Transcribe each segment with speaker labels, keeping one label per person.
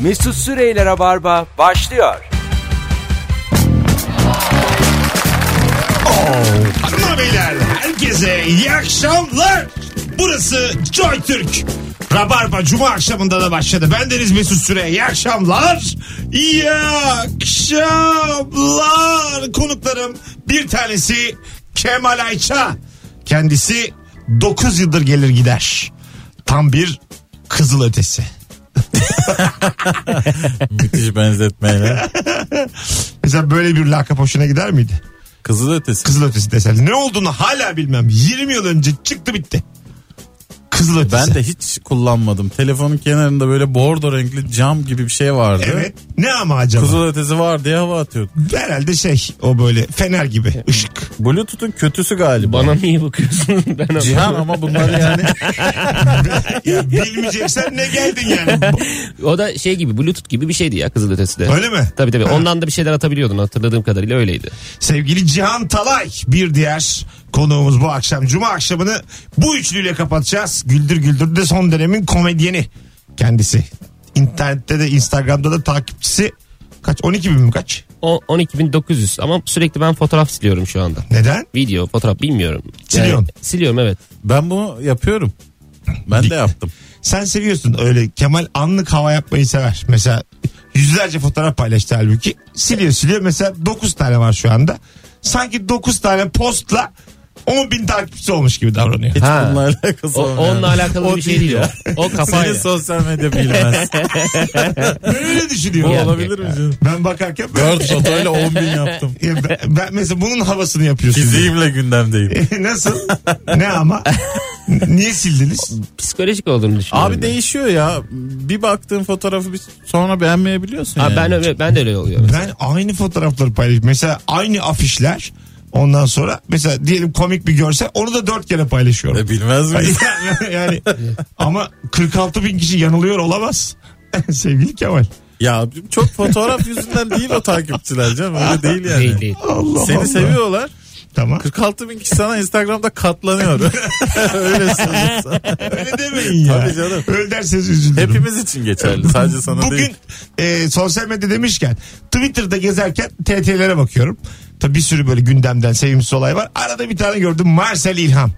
Speaker 1: Mesut Süreyler'e barba başlıyor.
Speaker 2: Hanımlar beyler herkese iyi akşamlar. Burası Joy Türk. Rabarba Cuma akşamında da başladı. Ben Deniz Mesut Süre. İyi akşamlar. İyi akşamlar. Konuklarım bir tanesi Kemal Ayça. Kendisi 9 yıldır gelir gider. Tam bir kızıl ötesi.
Speaker 3: Müthiş benzetmeyle.
Speaker 2: Mesela böyle bir lakap hoşuna gider miydi?
Speaker 3: Kızıl ötesi.
Speaker 2: Kızıl ötesi desen. Ne olduğunu hala bilmem. 20 yıl önce çıktı bitti. Kızıl ötesi.
Speaker 3: Ben de hiç kullanmadım. Telefonun kenarında böyle bordo renkli cam gibi bir şey vardı.
Speaker 2: Evet. Ne ama acaba?
Speaker 3: Kızıl ötesi var diye hava atıyorduk.
Speaker 2: Herhalde şey o böyle fener gibi ışık.
Speaker 3: Bluetooth'un kötüsü galiba.
Speaker 4: Bana niye bakıyorsun? Ben anlamadım.
Speaker 3: Cihan ama bunları yani
Speaker 2: Ya bilmeyeceksen ne geldin yani?
Speaker 4: O da şey gibi Bluetooth gibi bir şeydi ya Kızılötesi de.
Speaker 2: Öyle mi?
Speaker 4: Tabii tabii
Speaker 2: Ha.
Speaker 4: ondan da bir şeyler atabiliyordun hatırladığım kadarıyla öyleydi.
Speaker 2: Sevgili Cihan Talay bir diğer konuğumuz bu akşam. Cuma akşamını bu üçlüyle kapatacağız. Güldür Güldür de son dönemin komedyeni kendisi. İnternette de Instagram'da da takipçisi kaç 12 bin mi kaç?
Speaker 4: O 12900 ama sürekli ben fotoğraf siliyorum şu anda.
Speaker 2: Neden?
Speaker 4: Video, fotoğraf bilmiyorum. Yani
Speaker 2: Siliyorsun.
Speaker 4: siliyorum evet.
Speaker 3: ben bunu yapıyorum. Ben de yaptım.
Speaker 2: Sen seviyorsun öyle Kemal anlık hava yapmayı sever. Mesela yüzlerce fotoğraf paylaştı halbuki. Siliyor siliyor mesela 9 tane var şu anda. Sanki 9 tane postla 10 bin takipçisi olmuş gibi davranıyor.
Speaker 3: Hiç
Speaker 4: Ha.
Speaker 3: bununla alakası
Speaker 4: O,
Speaker 3: olmayan.
Speaker 4: onunla alakalı
Speaker 3: O
Speaker 4: bir şey değil,
Speaker 3: ya.
Speaker 4: o. O
Speaker 3: Seni
Speaker 4: kafayla.
Speaker 3: sosyal medya bilmez.
Speaker 2: Böyle
Speaker 3: Bu
Speaker 2: düşünüyor.
Speaker 4: Ya.
Speaker 3: olabilir mi canım?
Speaker 2: Ben bakarken böyle.
Speaker 3: Dört fotoyla on bin yaptım.
Speaker 2: Ya ben, ben mesela bunun havasını yapıyorsun.
Speaker 3: Fiziğimle gündemdeyim.
Speaker 2: Nasıl? Ne ama? N- Niye sildiniz?
Speaker 4: Psikolojik olduğunu düşünüyorum.
Speaker 3: Abi
Speaker 4: ben.
Speaker 3: değişiyor ya. Bir baktığın fotoğrafı bir sonra beğenmeyebiliyorsun
Speaker 4: Abi
Speaker 3: yani.
Speaker 4: ben öyle, ben de öyle oluyor.
Speaker 2: Ben aynı fotoğrafları paylaş. Mesela aynı afişler. Ondan sonra mesela diyelim komik bir görsel onu da dört kere paylaşıyorum.
Speaker 3: E, bilmez miyiz?
Speaker 2: yani ama 46 bin kişi yanılıyor olamaz. Sevgili Kemal.
Speaker 3: ya abicim çok fotoğraf yüzünden değil o takipçiler canım. Öyle değil yani.
Speaker 4: Değil değil.
Speaker 2: Allah
Speaker 3: Seni
Speaker 2: Allah.
Speaker 3: seviyorlar.
Speaker 2: Tamam.
Speaker 3: 46 bin kişi sana Instagram'da katlanıyor. Öyle söyleyeyim sana.
Speaker 2: Öyle demeyin ya.
Speaker 3: Tabii canım.
Speaker 2: Öyle derseniz üzülürüm.
Speaker 3: Hepimiz için geçerli. Sadece sana
Speaker 2: Bugün
Speaker 3: değil.
Speaker 2: e, sosyal medya demişken Twitter'da gezerken TT'lere bakıyorum. Tabi bir sürü böyle gündemden sevimsiz olay var. Arada bir tane gördüm Marcel İlham.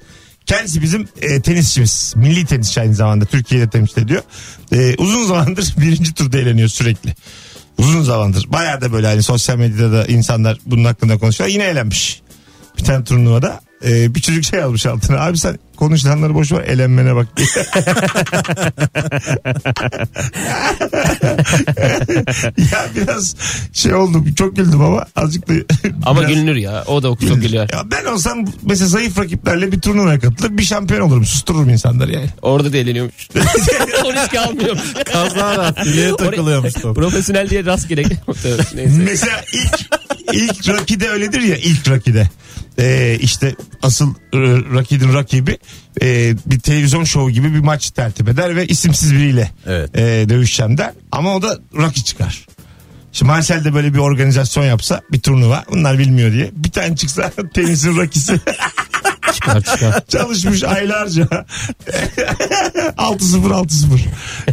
Speaker 2: Kendisi bizim e, tenisçimiz. Milli tenisçi aynı zamanda. Türkiye'de temsil ediyor. E, uzun zamandır birinci turda eğleniyor sürekli. Uzun zamandır. Bayağı da böyle hani sosyal medyada da insanlar bunun hakkında konuşuyor. Yine eğlenmiş. Bir tane turnuvada. e, bir çocuk şey almış altına. Abi sen konuşulanları boş ver eğlenmene bak diye. ya biraz şey oldum. Çok güldüm ama azıcık da.
Speaker 4: Ama
Speaker 2: biraz-
Speaker 4: gülünür ya. O da çok gülüyor.
Speaker 2: ya ben olsam mesela zayıf rakiplerle bir turnuvaya katılır bir şampiyon olurum sustururum insanları yani.
Speaker 4: Orada da eğleniyormuş. o riski almıyormuş.
Speaker 3: Kazlar rahat. Dileğe takılıyormuş top.
Speaker 4: Profesyonel diye rastgele. Neyse.
Speaker 2: Mesela ilk ilk rakide öyledir ya ilk rakide. Ee, işte asıl e, rakibin rakibi e, bir televizyon şovu gibi bir maç tertip eder ve isimsiz biriyle
Speaker 3: Evet.
Speaker 2: e, dövüşeceğim der. Ama o da Rocky çıkar. Şimdi Marcel de böyle bir organizasyon yapsa bir turnuva bunlar bilmiyor diye. Bir tane çıksa tenisin rakisi
Speaker 4: Çıkar çıkar.
Speaker 2: çalışmış aylarca. 6-0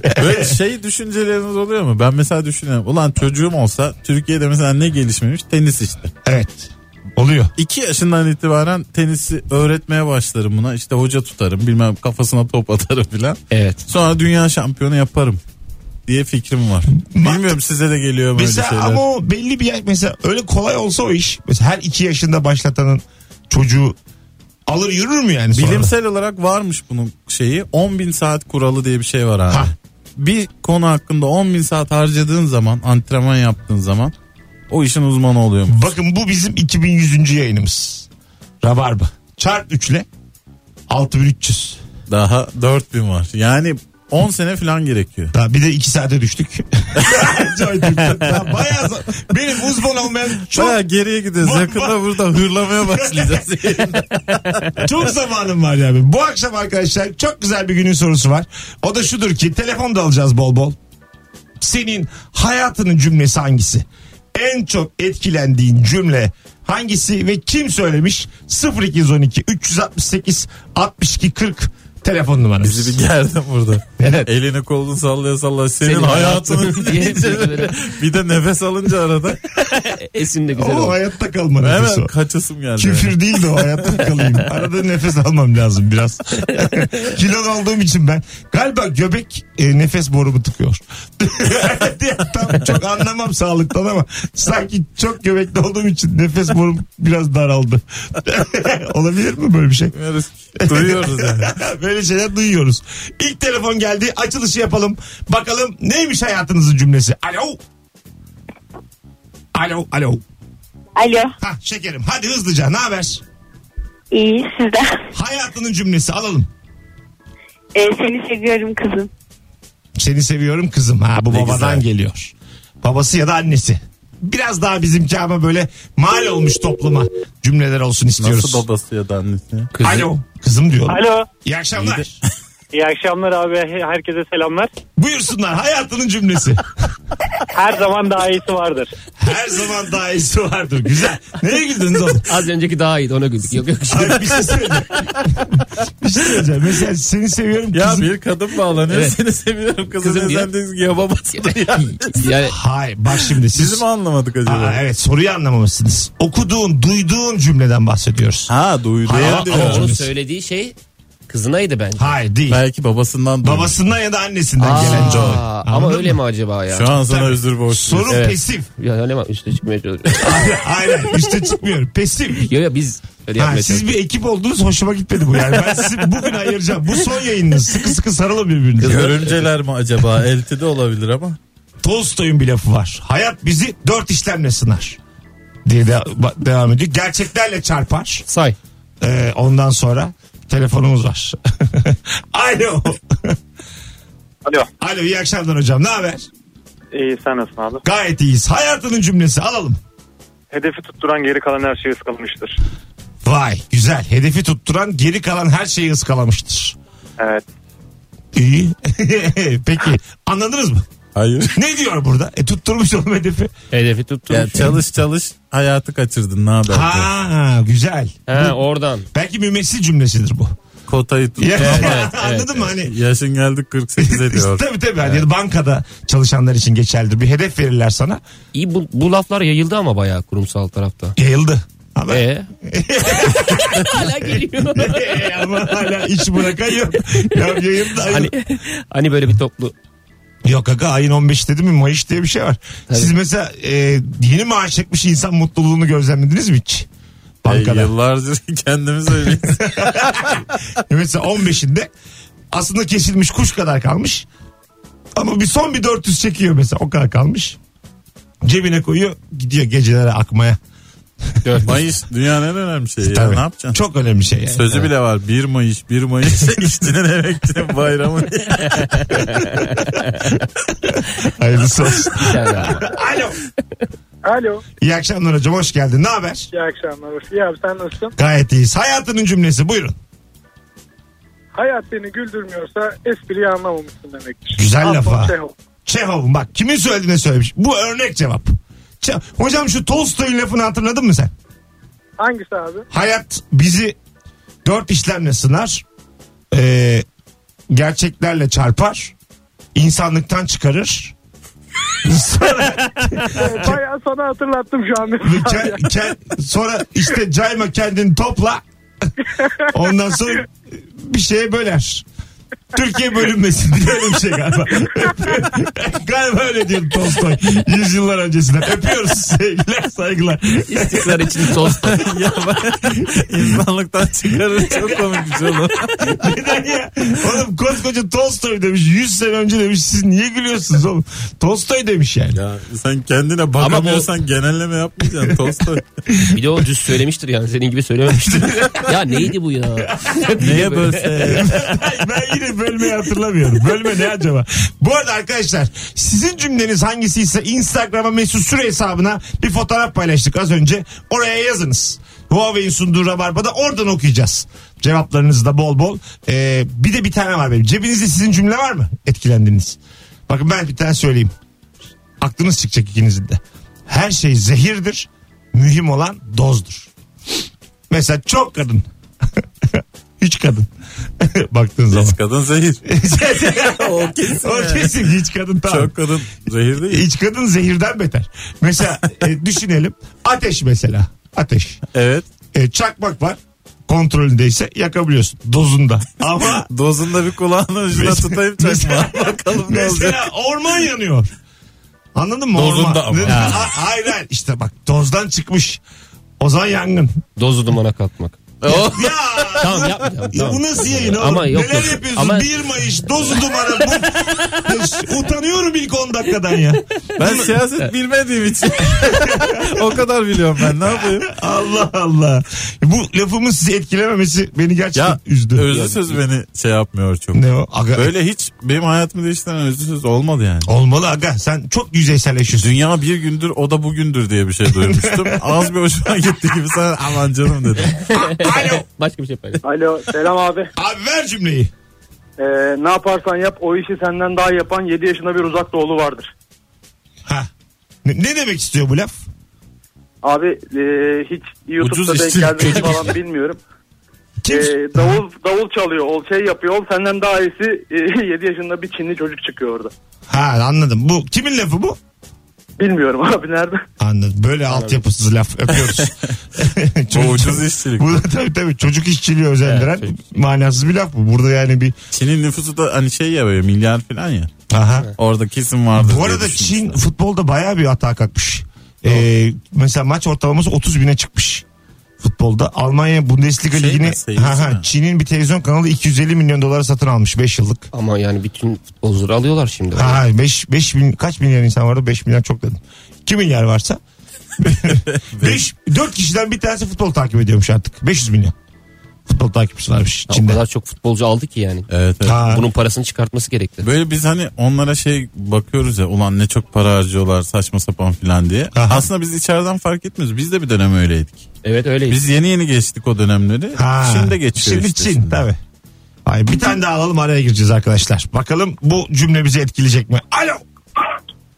Speaker 2: 6-0.
Speaker 3: Böyle şey düşünceleriniz oluyor mu? Ben mesela düşünüyorum. Ulan çocuğum olsa Türkiye'de mesela ne gelişmemiş? Tenis işte.
Speaker 2: Evet. Oluyor.
Speaker 3: 2 yaşından itibaren tenisi öğretmeye başlarım buna. İşte hoca tutarım bilmem kafasına top atarım filan.
Speaker 4: Evet.
Speaker 3: Sonra dünya şampiyonu yaparım diye fikrim var. Bilmiyorum size de geliyor mu öyle
Speaker 2: Mesela
Speaker 3: şeyler.
Speaker 2: ama o belli bir yaş mesela öyle kolay olsa o iş. Mesela her iki yaşında başlatanın çocuğu alır yürür mü yani sonra?
Speaker 3: Bilimsel olarak varmış bunun şeyi. 10 bin saat kuralı diye bir şey var abi.
Speaker 2: Ha.
Speaker 3: Bir konu hakkında 10 bin saat harcadığın zaman antrenman yaptığın zaman o işin uzmanı oluyor mu?
Speaker 2: Bakın bu bizim 2100. yayınımız. Rabarba. Çarp 3 ile 6300.
Speaker 3: Daha 4 bin var. Yani 10 sene falan gerekiyor.
Speaker 2: Daha bir de 2 saate düştük. Joy Türk'te. Daha bayağı za- benim uzman olmayan
Speaker 3: Çok
Speaker 2: çok
Speaker 3: geriye gidiyoruz.
Speaker 2: Bak,
Speaker 3: Yakında burada hırlamaya başlayacağız.
Speaker 2: çok zamanım var yani. Bu akşam arkadaşlar çok güzel bir günün sorusu var. O da şudur ki telefon da alacağız bol bol. Senin hayatının cümlesi hangisi? En çok etkilendiğin cümle hangisi ve kim söylemiş? 0212 368 62 40 Telefon numaramız.
Speaker 3: Bizi bir gerdin burada.
Speaker 2: Evet.
Speaker 3: Elini kolunu sallaya sallaya senin,
Speaker 4: Senin
Speaker 3: hayatını
Speaker 4: hayatın diye böyle.
Speaker 3: bir de nefes alınca arada
Speaker 4: E, Esin de güzel
Speaker 2: O
Speaker 4: oldu.
Speaker 2: hayatta kalma nefesi
Speaker 3: hemen
Speaker 2: o.
Speaker 3: kaçasım geldi.
Speaker 2: Küfür değil de o hayatta kalayım. Arada nefes almam lazım biraz. Kilo aldığım için ben. Galiba göbek e, nefes borumu tıkıyor. Tam çok anlamam sağlıktan ama sanki çok göbekli olduğum için nefes borum biraz daraldı. Olabilir mi böyle bir şey?
Speaker 3: Bilmiyoruz. Duyuyoruz yani.
Speaker 2: Böyle şeyler duyuyoruz. İlk telefon geldi. Açılışı yapalım. Bakalım neymiş hayatınızın cümlesi? Alo. Alo, alo.
Speaker 5: Alo.
Speaker 2: Ha şekerim. Hadi hızlıca. Ne haber?
Speaker 5: İyi sizden.
Speaker 2: Hayatının cümlesi alalım.
Speaker 5: Ee, seni seviyorum kızım.
Speaker 2: Seni seviyorum kızım. Ha bu
Speaker 3: Ne
Speaker 2: babadan
Speaker 3: güzel.
Speaker 2: geliyor. Babası ya da annesi. Biraz daha bizimki ama böyle mal olmuş topluma cümleler olsun istiyoruz.
Speaker 3: Nasıl babası ya da annesi?
Speaker 4: Kızım,
Speaker 2: Alo. Kızım diyor.
Speaker 6: Alo.
Speaker 2: İyi akşamlar.
Speaker 6: İyi akşamlar abi. Herkese selamlar.
Speaker 2: Buyursunlar hayatının cümlesi.
Speaker 6: Her zaman daha iyisi vardır.
Speaker 2: Her zaman daha iyisi vardır. Güzel. Neye güldünüz oğlum?
Speaker 4: Az önceki daha iyiydi ona güldük. Yok yok.
Speaker 2: Abi bir şey söyleyeceğim. bir şey söyleyeceğim. Mesela seni seviyorum
Speaker 3: Ya
Speaker 2: kızım.
Speaker 3: bir kadın bağlanıyor
Speaker 4: Evet.
Speaker 3: seni seviyorum kızım,
Speaker 4: Kızım
Speaker 3: kızım
Speaker 4: diye.
Speaker 3: sen diyorsun ki ya babası da ya.
Speaker 4: yani
Speaker 2: Hayır bak şimdi siz...
Speaker 3: Bizi mi anlamadık acaba?
Speaker 2: Aa, evet soruyu anlamamışsınız. Okuduğun, duyduğun cümleden bahsediyoruz.
Speaker 3: Ha duydu.
Speaker 2: Hayır,
Speaker 3: ya
Speaker 2: ama-
Speaker 3: diyor.
Speaker 2: ama-
Speaker 4: onun
Speaker 2: Cümlesi.
Speaker 4: söylediği şey kızınaydı bence.
Speaker 2: Hayır değil.
Speaker 3: Belki babasından duydu.
Speaker 2: Babasından ya da annesinden
Speaker 4: Aa,
Speaker 2: gelen cevap. Anladın
Speaker 4: ama öyle
Speaker 2: mı?
Speaker 4: mi acaba ya?
Speaker 3: Şu an sana
Speaker 2: Tabii.
Speaker 3: özür borçluyuz.
Speaker 2: Soru
Speaker 4: Evet.
Speaker 2: pesif.
Speaker 4: Ya ne var üstüne çıkmaya çalışıyorum.
Speaker 2: Aynen üstte çıkmıyorum. Pesif.
Speaker 4: ya ya biz öyle
Speaker 2: Ha,
Speaker 4: yapmaya
Speaker 2: siz
Speaker 4: çalışıyoruz.
Speaker 2: bir ekip oldunuz hoşuma gitmedi bu yani. Ben sizi bugün ayıracağım. Bu son yayınınız. Sıkı sıkı sarılın birbirinize.
Speaker 3: Görümceler mi acaba? Eltide olabilir ama.
Speaker 2: Tolstoy'un bir lafı var. Hayat bizi dört işlemle sınar. Diye de, ba- devam ediyor. Gerçeklerle çarpar.
Speaker 4: Say.
Speaker 2: Ee, ondan sonra telefonumuz var. Alo.
Speaker 6: Alo.
Speaker 2: Alo iyi akşamlar hocam. Ne haber?
Speaker 6: İyi sen nasılsın abi?
Speaker 2: Gayet iyiyiz. Hayatının cümlesi alalım.
Speaker 6: Hedefi tutturan geri kalan her şey ıskalamıştır.
Speaker 2: Vay güzel. Hedefi tutturan geri kalan her şeyi ıskalamıştır.
Speaker 6: Evet.
Speaker 2: İyi. Peki anladınız mı?
Speaker 3: Hayır.
Speaker 2: Ne diyor burada? E tutturmuş oğlum hedefi.
Speaker 4: Hedefi tuttum.
Speaker 3: Ya çalış çalış hayatı kaçırdın ne haber? diyor.
Speaker 2: Ha güzel.
Speaker 4: Ha oradan.
Speaker 2: Belki mümessil cümlesidir bu.
Speaker 3: Kotayı tut.
Speaker 2: Ya,
Speaker 4: evet,
Speaker 2: anladın
Speaker 4: evet,
Speaker 2: mı hani?
Speaker 3: Yaşın geldi 48'e diyor.
Speaker 2: tabii tabii. Hani ya da bankada çalışanlar için geçerlidir. Bir hedef verirler sana.
Speaker 4: İyi bu, bu laflar yayıldı ama bayağı kurumsal tarafta.
Speaker 2: Yayıldı. Ama,
Speaker 4: E. Hala geliyor.
Speaker 2: E, ama hala iş bırakan yok. Ya yayıldı. ayın-
Speaker 4: hani hani böyle bir toplu
Speaker 2: Yok aga ayın 15 dedi mi Mayıs diye bir şey var. Siz mesela e, yeni maaş çekmiş insan mutluluğunu gözlemlediniz mi hiç?
Speaker 3: E,
Speaker 2: Bankada.
Speaker 3: yıllarca kendimiz öyleyiz.
Speaker 2: Ya E, Mesela 15'inde aslında kesilmiş kuş kadar kalmış. Ama bir son bir 400 çekiyor mesela o kadar kalmış. Cebine koyuyor gidiyor gecelere akmaya.
Speaker 3: Mayıs dünyanın en önemli şeyi ya.
Speaker 2: Tabii.
Speaker 3: Ne yapacaksın?
Speaker 2: Çok önemli şey yani.
Speaker 3: Sözü bile var. 1 Mayıs, 1 Mayıs işçinin emekçinin bayramı diye.
Speaker 2: Hayırlısı olsun.
Speaker 4: bir tane daha.
Speaker 2: Alo.
Speaker 7: Alo.
Speaker 2: İyi akşamlar hocam hoş geldin. Ne haber?
Speaker 7: İyi akşamlar. İyi abi sen nasılsın?
Speaker 2: Gayet iyiyiz. Hayatının cümlesi buyurun.
Speaker 7: Hayat seni güldürmüyorsa espriyi anlamamışsın demektir. şey
Speaker 2: Güzel
Speaker 7: Anton
Speaker 2: laf ha.
Speaker 7: Çehov.
Speaker 2: Çehov'un bak kimin söylediğine söylemiş. Bu örnek cevap. Çe- Hocam şu Tolstoy'un lafını hatırladın mı sen?
Speaker 7: Hangisi abi?
Speaker 2: Hayat bizi dört işlemle sınar. Ee, gerçeklerle çarpar. insanlıktan çıkarır. sonra,
Speaker 7: Bayağı sana hatırlattım şu an.
Speaker 2: ke- ke- sonra işte cayma kendini topla. Ondan sonra bir şeye böler. Türkiye bölünmesin diye öyle bir şey galiba. galiba öyle diyor Tolstoy. Yüzyıllar öncesinden. Öpüyoruz sevgiler saygılar.
Speaker 4: İstikrar için tost.
Speaker 3: İnsanlıktan çıkarır. Çok komik bir şey olur.
Speaker 2: Neden ya? Oğlum koskoca Tolstoy demiş. 100 sene önce demiş. Siz niye gülüyorsunuz oğlum? Tolstoy demiş yani.
Speaker 3: Ya sen kendine bakamıyorsan genelleme yapmayacaksın Tolstoy.
Speaker 4: bir de o düz söylemiştir yani senin gibi söylememiştir. ya neydi bu ya?
Speaker 3: Neye bölse?
Speaker 2: ben yine bölmeyi hatırlamıyorum. Bölme ne acaba? Bu arada arkadaşlar sizin cümleniz hangisiyse Instagram'a Mesut Süre hesabına bir fotoğraf paylaştık az önce. Oraya yazınız. Huawei'in sunduğu Rabarba'da oradan okuyacağız. Cevaplarınızı da bol bol. Ee, bir de bir tane var benim. Cebinizde sizin cümle var mı? Etkilendiniz. Bakın ben bir tane söyleyeyim. Aklınız çıkacak ikinizin de. Her şey zehirdir. Mühim olan dozdur. Mesela çok kadın. Hiç kadın. Baktığın zaman.
Speaker 3: Hiç kadın zehir. o kesin.
Speaker 2: o
Speaker 3: yani.
Speaker 2: kesin hiç kadın tamam.
Speaker 3: Çok kadın zehir değil.
Speaker 2: Hiç kadın zehirden beter. Mesela e, düşünelim ateş mesela. Ateş.
Speaker 3: Evet.
Speaker 2: E, çakmak var kontrolündeyse yakabiliyorsun dozunda. Ama
Speaker 3: Dozunda bir kulağını ucuna tutayım çakma. Bakalım ne olacak.
Speaker 2: mesela orman yanıyor. Anladın mı?
Speaker 3: Dozunda
Speaker 2: orman.
Speaker 3: ama.
Speaker 2: Ne-
Speaker 3: Ha.
Speaker 2: Ha- Hayır hayır işte bak dozdan çıkmış. O zaman yangın.
Speaker 4: Dozu dumana kalkmak.
Speaker 2: Ya,
Speaker 4: tamam yapmayacağım.
Speaker 2: ya
Speaker 4: Tamam.
Speaker 2: bu nasıl yayın oğlum?
Speaker 4: Ama yok,
Speaker 2: Neler
Speaker 4: yok.
Speaker 2: yapıyorsun?
Speaker 4: Ama-
Speaker 2: 1 Mayıs dozu dumana. Bu... Utanıyorum ilk 10 dakikadan ya.
Speaker 3: Ben siyaset bilmediğim için. o kadar biliyorum ben ne yapayım.
Speaker 2: Allah Allah. Bu lafımın sizi etkilememesi beni gerçekten
Speaker 3: Ya
Speaker 2: üzdü.
Speaker 3: özlü söz beni şey yapmıyor çok.
Speaker 2: Ne o? Aga.
Speaker 3: Böyle hiç benim hayatımı değiştiren özlü söz olmadı yani.
Speaker 2: Olmalı aga. Sen çok yüzeyselleşiyorsun.
Speaker 3: Dünya bir gündür o da bugündür diye bir şey duymuştum. Az bir hoşuma gitti gibi sana aman canım dedim.
Speaker 2: Alo.
Speaker 4: Başka bir şey yapmayacağım.
Speaker 7: Alo selam abi. Ee,
Speaker 2: Abi ver cümleyi.
Speaker 7: ne yaparsan yap o işi senden daha yapan 7 yaşında bir uzak doğulu vardır.
Speaker 2: Ha. Ne, ne demek istiyor bu laf?
Speaker 7: Abi e, hiç
Speaker 3: YouTube'da Ucuz denk işçi, geldim çocuk
Speaker 7: falan bilmiyorum.
Speaker 2: Kim?
Speaker 7: Ee, davul davul çalıyor, ol şey yapıyor. Ol senden daha iyisi 7 yaşında bir Çinli çocuk çıkıyor orada.
Speaker 2: Ha anladım. Bu kimin lafı bu?
Speaker 7: Bilmiyorum abi nerede.
Speaker 2: Anladım. Böyle altyapısız laf öpüyoruz.
Speaker 3: Bu ucuz işçilik.
Speaker 2: Bu da tabii tabii çocuk işçiliği özendiren manasız bir laf bu. Burada yani bir
Speaker 3: Çin'in nüfusu da hani şey ya böyle milyar falan ya.
Speaker 2: aha.
Speaker 3: Orada kesin vardır.
Speaker 2: Bu
Speaker 3: diye
Speaker 2: arada
Speaker 3: düşünmüştüm.
Speaker 2: Çin futbolda bayağı bir hata kalkmış. Ee, mesela maç ortalaması 30 bine çıkmış futbolda. Almanya Bundesliga
Speaker 3: Şey mi,
Speaker 2: Ligi'ni
Speaker 3: seyircisi
Speaker 2: ha, ha,
Speaker 3: mi?
Speaker 2: Çin'in bir televizyon kanalı 250 milyon dolara satın almış 5 yıllık.
Speaker 4: Ama yani bütün futbolcuları alıyorlar şimdi.
Speaker 2: Ha, ha, 5, 5 bin, kaç milyar insan vardı? 5 milyar çok dedim. 2 milyar varsa. 5, 4 kişiden bir tanesi futbol takip ediyormuş artık. 500 milyon. Futbol takipçisi varmış
Speaker 4: Ya o
Speaker 2: Çin'de.
Speaker 4: kadar çok futbolcu aldı ki yani.
Speaker 3: Evet evet.
Speaker 2: Ha.
Speaker 4: Bunun parasını çıkartması gerekli.
Speaker 3: Böyle biz hani onlara şey bakıyoruz ya ulan ne çok para harcıyorlar saçma sapan filan diye.
Speaker 2: Aha.
Speaker 3: Aslında biz içeriden fark etmiyoruz. Biz de bir dönem öyleydik.
Speaker 4: Evet öyle.
Speaker 3: Biz yeni yeni geçtik o dönemleri.
Speaker 2: Ha.
Speaker 3: Şimdi de geçiyor
Speaker 2: Şimdi
Speaker 3: işte.
Speaker 2: Çin
Speaker 3: şimdi.
Speaker 2: tabii. Ay, bir tane daha alalım araya gireceğiz arkadaşlar. Bakalım bu cümle bizi etkileyecek mi? Alo.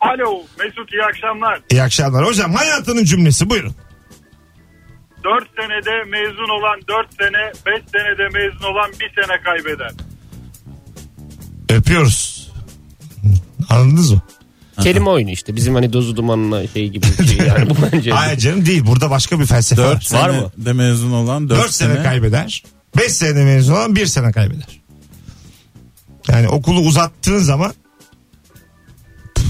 Speaker 7: Alo Mesut iyi akşamlar.
Speaker 2: İyi akşamlar. Hocam hayatının cümlesi buyurun.
Speaker 7: 4 senede mezun olan 4 sene, 5 senede mezun olan 1 sene kaybeder.
Speaker 2: Öpüyoruz. Anladınız mı?
Speaker 4: Kelime oyunu işte. Bizim hani dozu dumanla şey gibi bir şey. Yani bu bence.
Speaker 2: Hayır canım değil. Burada başka bir felsefe
Speaker 3: Dört
Speaker 2: var.
Speaker 3: sene
Speaker 4: Var mı?
Speaker 3: de mezun olan
Speaker 2: 4,
Speaker 3: dört
Speaker 2: sene,
Speaker 3: sene.
Speaker 2: kaybeder. 5 sene mezun olan 1 sene kaybeder. Yani okulu uzattığın zaman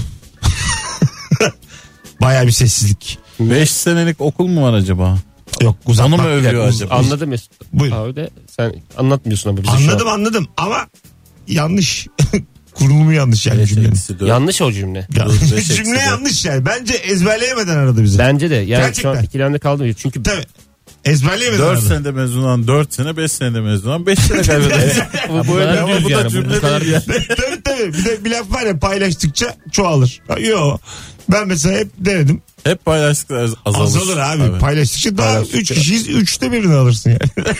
Speaker 2: baya bir sessizlik.
Speaker 3: 5 senelik okul mu var acaba?
Speaker 2: Yok uzatmak.
Speaker 3: Onu mu övüyor
Speaker 2: Yani uz-
Speaker 3: acaba?
Speaker 2: uz-
Speaker 4: Anladım Mesut.
Speaker 2: Buyur.
Speaker 4: Abi de sen anlatmıyorsun ama bize şu an.
Speaker 2: Anladım anladım ama yanlış. Kurulumu yanlış yani
Speaker 3: Beş
Speaker 2: cümlenin.
Speaker 3: eksi dört.
Speaker 4: Yanlış o cümle.
Speaker 2: Yanlış.
Speaker 3: beş eksi
Speaker 2: Cümle
Speaker 3: dört.
Speaker 2: yanlış yani. Bence ezberleyemeden aradı bizi.
Speaker 4: Bence de. Yani şu
Speaker 2: Gerçekten.
Speaker 4: an ikilemde kaldım. Çünkü
Speaker 2: Tabii. Ezberleyemeden
Speaker 3: Dört
Speaker 2: aradı.
Speaker 3: senede mezun olan 4 sene 5 senede mezun olan 5 sene kaybeder.
Speaker 4: bu,
Speaker 3: Böyle ama bu da cümle değil ya.
Speaker 2: tabii tabii. Bir de bir laf var ya paylaştıkça çoğalır. Yo. Ben mesela hep denedim.
Speaker 3: Hep paylaştıklar az- azalır.
Speaker 2: Azalır abi. Paylaştıkça daha
Speaker 3: Paylaştıkça.
Speaker 2: üç kişiyiz. Üçte birini alırsın yani.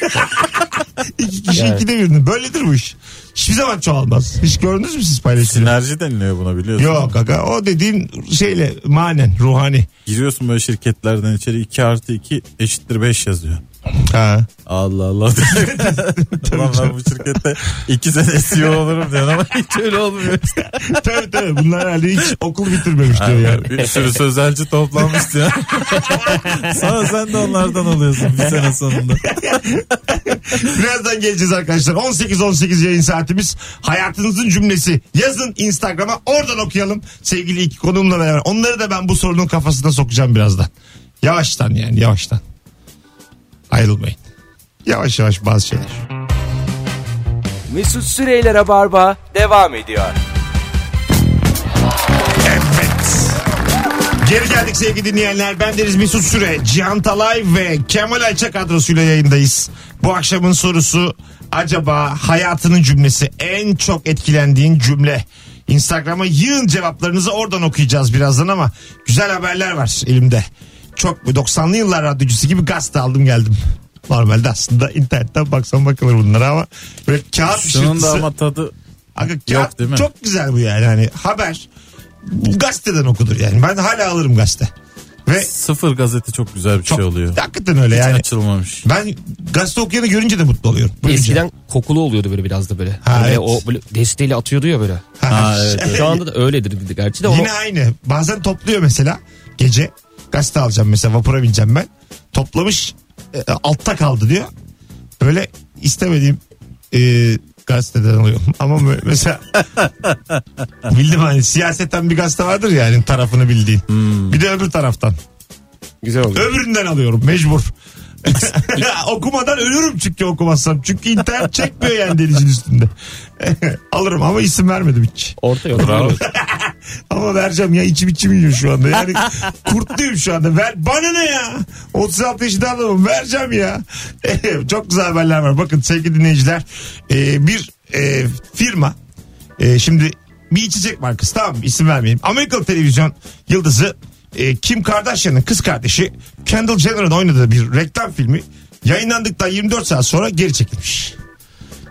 Speaker 2: İki kişi
Speaker 4: Yani.
Speaker 2: ikide birini. Böyledir bu iş. Hiçbir zaman çoğalmaz. Hiç gördünüz mü siz paylaştıkça?
Speaker 3: Sinerji deniliyor buna biliyorsun.
Speaker 2: Yok kaka. O dediğin şeyle manen, ruhani.
Speaker 3: Giriyorsun böyle şirketlerden içeri 2 artı 2 eşittir 5 yazıyor.
Speaker 2: Ha.
Speaker 3: Allah Allah. Ulan ben bu şirkette 2 sene CEO olurum diyor ama hiç öyle olmuyor.
Speaker 2: tabii tabii. Bunlar herhalde hiç okul bitirmemiş diyor yani.
Speaker 3: Bir sürü sözelci toplanmış diyor. Sonra sen de onlardan oluyorsun bir sene sonunda.
Speaker 2: Birazdan geleceğiz arkadaşlar. 18-18 yayın saatimiz. Hayatınızın cümlesi. Yazın Instagram'a oradan okuyalım. Sevgili iki konuğumla beraber. Onları da ben bu sorunun kafasına sokacağım birazdan. Yavaştan yani yavaştan. Ayrılmayın. Yavaş yavaş bazı şeyler.
Speaker 1: Mesut Süreyler'e barba devam ediyor.
Speaker 2: Evet. Geri geldik sevgili dinleyenler. Ben Deniz Mesut Süre, Cihan Talay ve Kemal Ayça kadrosuyla yayındayız. Bu akşamın sorusu acaba hayatının cümlesi en çok etkilendiğin cümle? Instagram'a yığın cevaplarınızı oradan okuyacağız birazdan ama güzel haberler var elimde. Çok 90'lı yıllar radyocusu gibi gazete aldım geldim. Normalde aslında internetten baksan bakılır bunlara ama böyle kağıt
Speaker 3: Şunun da
Speaker 2: ışırtısı-
Speaker 3: ama tadı
Speaker 2: Aga, kağıt
Speaker 3: değil mi?
Speaker 2: Çok güzel bu yani. Hani haber bu gazeteden okudur yani. Ben hala alırım gazete. Ve
Speaker 3: Sıfır gazete çok güzel bir
Speaker 2: çok
Speaker 3: şey oluyor.
Speaker 2: hakikaten öyle
Speaker 3: Hiç
Speaker 2: yani.
Speaker 3: açılmamış.
Speaker 2: Ben gazete okuyanı görünce de mutlu oluyorum. Buyurun
Speaker 4: Eskiden kokulu oluyordu böyle biraz da böyle.
Speaker 2: Ha,
Speaker 4: böyle
Speaker 2: evet.
Speaker 4: o böyle desteğiyle atıyordu ya böyle.
Speaker 2: canım.
Speaker 3: Ha, evet, evet.
Speaker 4: Şu anda da öyledir gerçi de.
Speaker 2: Yine
Speaker 4: o...
Speaker 2: aynı. Bazen topluyor mesela gece. Gazete alacağım mesela vapura bineceğim ben. Toplamış e, altta kaldı diyor. Böyle istemediğim e, gazeteden alıyorum. Ama böyle mesela bildim hani siyasetten bir gazete vardır ya yani tarafını bildiğin. Bir de öbür taraftan.
Speaker 4: Hmm. Güzel oldu.
Speaker 2: Öbüründen alıyorum mecbur. Okumadan ölürüm çünkü okumazsam. Çünkü internet çekmiyor yani denizin üstünde. Alırım ama isim vermedim hiç.
Speaker 4: Orta yol.
Speaker 2: Ama vereceğim ya içim içim yiyor şu anda. Yani kurtluyum şu anda. Ver, bana ne ya? 36 yaşında adamım vereceğim ya. Eh, Çok güzel haberler var. Bakın sevgili dinleyiciler. e, bir e, firma e, şimdi bir içecek markası tamam mı? İsim vermeyeyim. Amerikalı televizyon yıldızı e, Kim Kardashian'ın kız kardeşi Kendall Jenner'ın oynadığı bir reklam filmi yayınlandıktan 24 saat sonra geri çekilmiş.